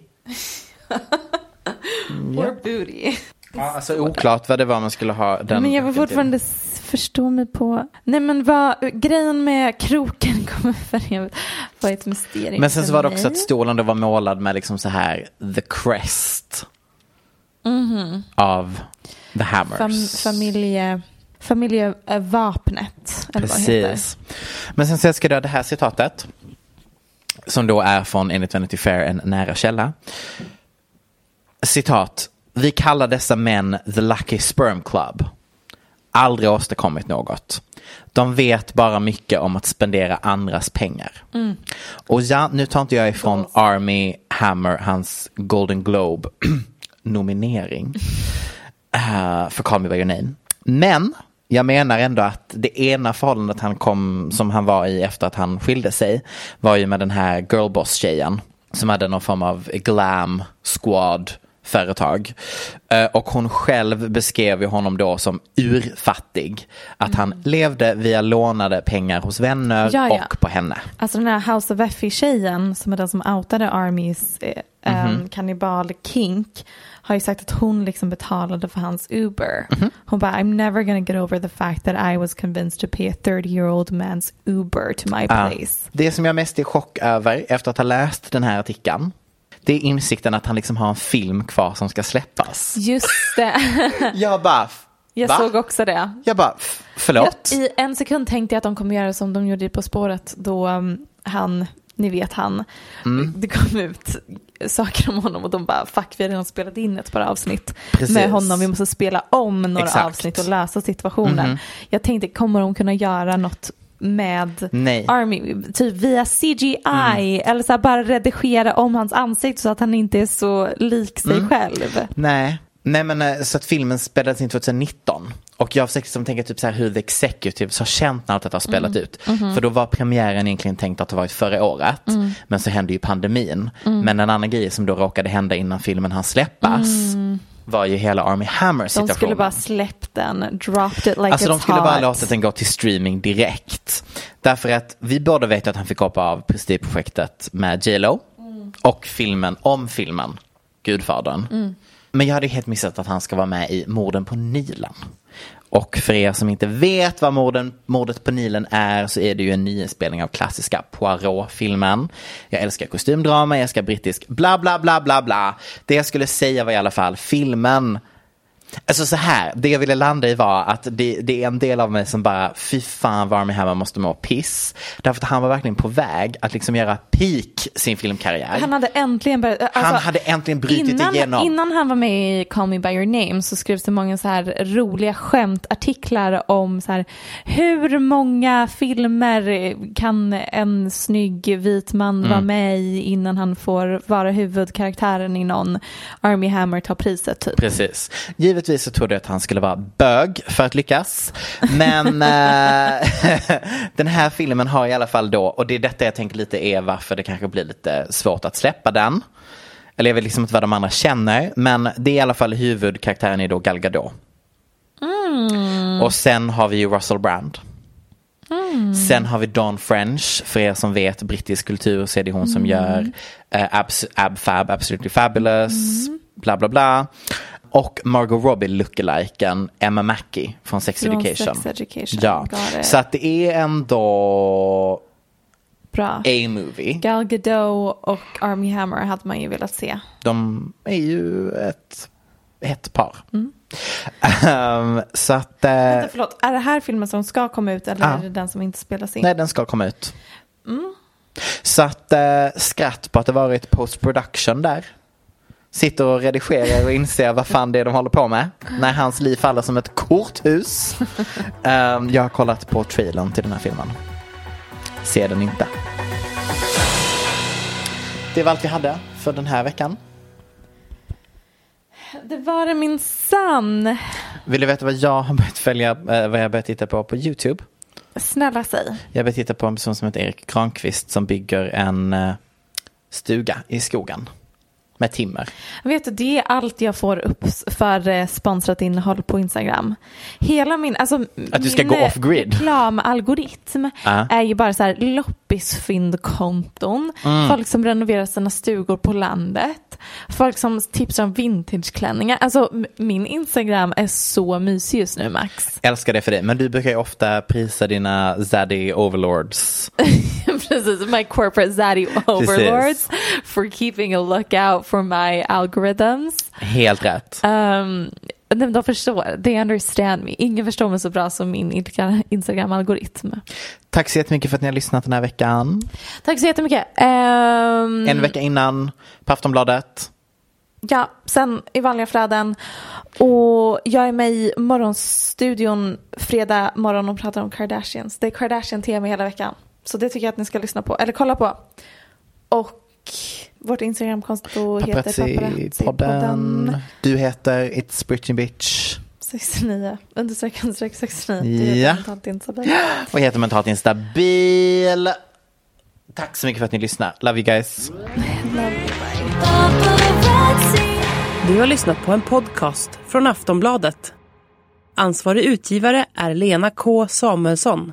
A: Or booty.
B: Ja, alltså oklart vad det var man skulle ha den.
A: men jag vill fortfarande s- förstå mig på, nej men vad, grejen med kroken kommer för evigt vara ett mysterium
B: Men sen så
A: för
B: var det
A: mig.
B: också att stolen då var målad med liksom så här the crest
A: Mhm.
B: av the hammers.
A: Fam, familje, familjevapnet. Eller vad det heter.
B: Precis. Men sen så älskar jag det här citatet. Som då är från, enligt Vanity Fair, en nära källa. Citat. Vi kallar dessa män the lucky sperm club. Aldrig åstadkommit något. De vet bara mycket om att spendera andras pengar.
K: Mm.
B: Och ja, nu tar inte jag ifrån Army Hammer, hans Golden Globe nominering eh, för Call Me By Your Name. Men jag menar ändå att det ena förhållandet han kom, som han var i efter att han skilde sig var ju med den här girlboss-tjejen som hade någon form av glam squad företag. Eh, Och hon själv beskrev ju honom då som urfattig. Att han levde via lånade pengar hos vänner
A: Mm. Ja, ja.
B: och på henne.
A: Alltså den här House of Effie-tjejen som är den som outade Armys eh,
B: Mhm.
A: em, kannibal kink har ju sagt att hon liksom betalade för hans Uber.
B: Mhm.
A: Hon bara I'm never gonna get over the fact that I was convinced to pay a 30 year old man's Uber to my
B: Ja.
A: place.
B: Det som jag mest är i chock över efter att ha läst den här artikeln det är insikten att han liksom har en film kvar som ska släppas.
A: Just det.
B: jag bara,
A: Jag
B: va?
A: såg också det.
B: Jag bara, f- förlåt?
A: Jag, I en sekund tänkte jag att de kommer göra som de gjorde i På spåret då um, han, ni vet han,
B: Mm.
A: det kom ut saker om honom och de bara fuck vi har redan spelat in ett par avsnitt
B: Precis.
A: med honom, vi måste spela om några
B: Exakt.
A: avsnitt och lösa situationen.
B: Mhm.
A: Jag tänkte kommer de kunna göra något med
B: Nej. Mm.
A: Army, typ via CGI eller så här bara redigera om hans ansikte så att han inte är så lik sig
B: Mm.
A: själv.
B: Nej. Nej men eh, så att filmen spelades in 2019 och jag försökte liksom tänka typ så här hur The Executives har känt när allt detta har spelat
L: Mm.
B: ut.
L: Mhm.
A: Mm-hmm.
B: För då var premiären egentligen tänkt att ha varit förra året
L: Mm.
B: men så hände ju pandemin.
L: Mm.
B: Men en annan grej som då råkade hända innan filmen hann släppas
A: Mm.
B: var ju hela Army Hammer
A: De skulle
B: situationen.
A: bara släppt den, dropped it like
B: alltså
A: it's
B: de skulle
A: hot.
B: bara låtit den gå till streaming direkt. Därför att vi båda vet att han fick hoppa av prestigeprojektet med J Lo
A: Mm.
B: och filmen om filmen, Gudfadern.
L: Mm.
B: Men jag hade helt missat att han ska vara med i Morden på Nilen. Och för er som inte vet vad morden, mordet på Nilen är så är det ju en nyinspelning av klassiska Poirot-filmen. Jag älskar kostymdrama, jag älskar brittisk bla bla bla bla bla. Det jag skulle säga var i alla fall filmen Alltså så här, det jag ville landa i var att det, det är en del av mig som bara, fy fan vad Armie Hammer måste må piss. Därför att han var verkligen på väg att liksom göra peak sin filmkarriär.
A: Han hade äntligen börjat. Alltså,
B: Han hade äntligen brutit
A: innan,
B: igenom.
A: Innan han var med i Call Me By Your Name så skrevs det många så här roliga skämtartiklar om så här, hur många filmer kan en snygg vit man
M: Mm.
A: vara med i innan han får vara huvudkaraktären i någon Army Hammer tar priset typ.
B: Precis. Givetvis så trodde jag att han skulle vara bög för att lyckas. Men eh, den här filmen har i alla fall då, och det är detta jag tänker lite är varför det kanske blir lite svårt att släppa den. Eller jag vet liksom inte vad de andra känner, men det är i alla fall huvudkaraktären är då Gal Gadot.
A: Mm.
B: Och sen har vi ju Russell Brand.
A: Mm.
B: Sen har vi Dawn French, för er som vet brittisk kultur så är det hon som
L: Mm.
B: gör eh, abs- Abfab, Absolutely Fabulous,
A: Mm.
B: bla bla bla. Och Margot Robbie lookaliken Emma Mackey från Sex
A: Från
B: Education.
A: Sex Education,
B: Ja.
A: got it.
B: Så att det är ändå
A: Bra.
B: A-movie.
A: Gal Gadot och Army Hammer hade man ju velat se.
B: De är ju ett, ett par.
A: Mm.
B: Ehm, så att... eh,
A: Vänta, förlåt, är det här filmen som ska komma ut eller
B: Ah.
A: är det den som inte spelas in?
B: nej, den ska komma ut.
A: Mm.
B: Så att eh, skratt på att det varit post production där. Sitter och redigerar och inser vad fan det är de håller på med. När hans liv faller som ett korthus. Ehm, jag har kollat på trailern till den här filmen. Ser den inte. Det var allt vi hade för den här veckan.
A: Det var det minsann.
B: Vill du veta vad jag har börjat följa, eh, vad jag har börjat titta på på YouTube?
A: Snälla säg.
B: Jag har börjat titta på en person som heter Erik Granqvist som bygger en eh, stuga i skogen. Med timmer.
A: Vet du, det är allt jag får upp för eh, sponsrat innehåll på Instagram. Hela min, alltså
B: Att du ska
A: min
B: gå
A: eh,
B: off-grid.
A: reklamalgoritm
B: Ja.
A: är ju bara så här loppisfyndkonton,
B: Mm.
A: folk som renoverar sina stugor på landet, folk som tipsar om vintageklänningar. Alltså m- min Instagram är så mysig just nu Max.
B: Älskar det för dig, men du brukar ju ofta prisa dina zaddy overlords.
A: Precis, my corporate zaddy overlords for keeping a lookout for my algorithms.
B: Helt rätt.
A: Um, nej, men de förstår, they understand me. Ingen förstår mig så bra som min Insta- Instagram-algoritm.
B: Tack så jättemycket för att ni har lyssnat den här veckan.
A: Tack så jättemycket. Um,
B: En vecka innan på Aftonbladet.
A: Ja, sen i vanliga flöden. Och jag är med i Morgonstudion fredag morgon och pratar om Kardashians. Det är Kardashian-tv hela veckan. Så det tycker jag att ni ska lyssna på, eller kolla på. Och vårt Instagramkonto heter
B: Paparazzi-podden. Du heter It's Britney Bitch.
A: 69, understreck, understreck 69.
B: Ja.
A: Det är inte
B: Och jag heter Mentalt Instabil. Tack så mycket för att ni lyssnar. Love you guys.
K: Du har lyssnat på en podcast från Aftonbladet. Ansvarig utgivare är Lena K Samuelsson.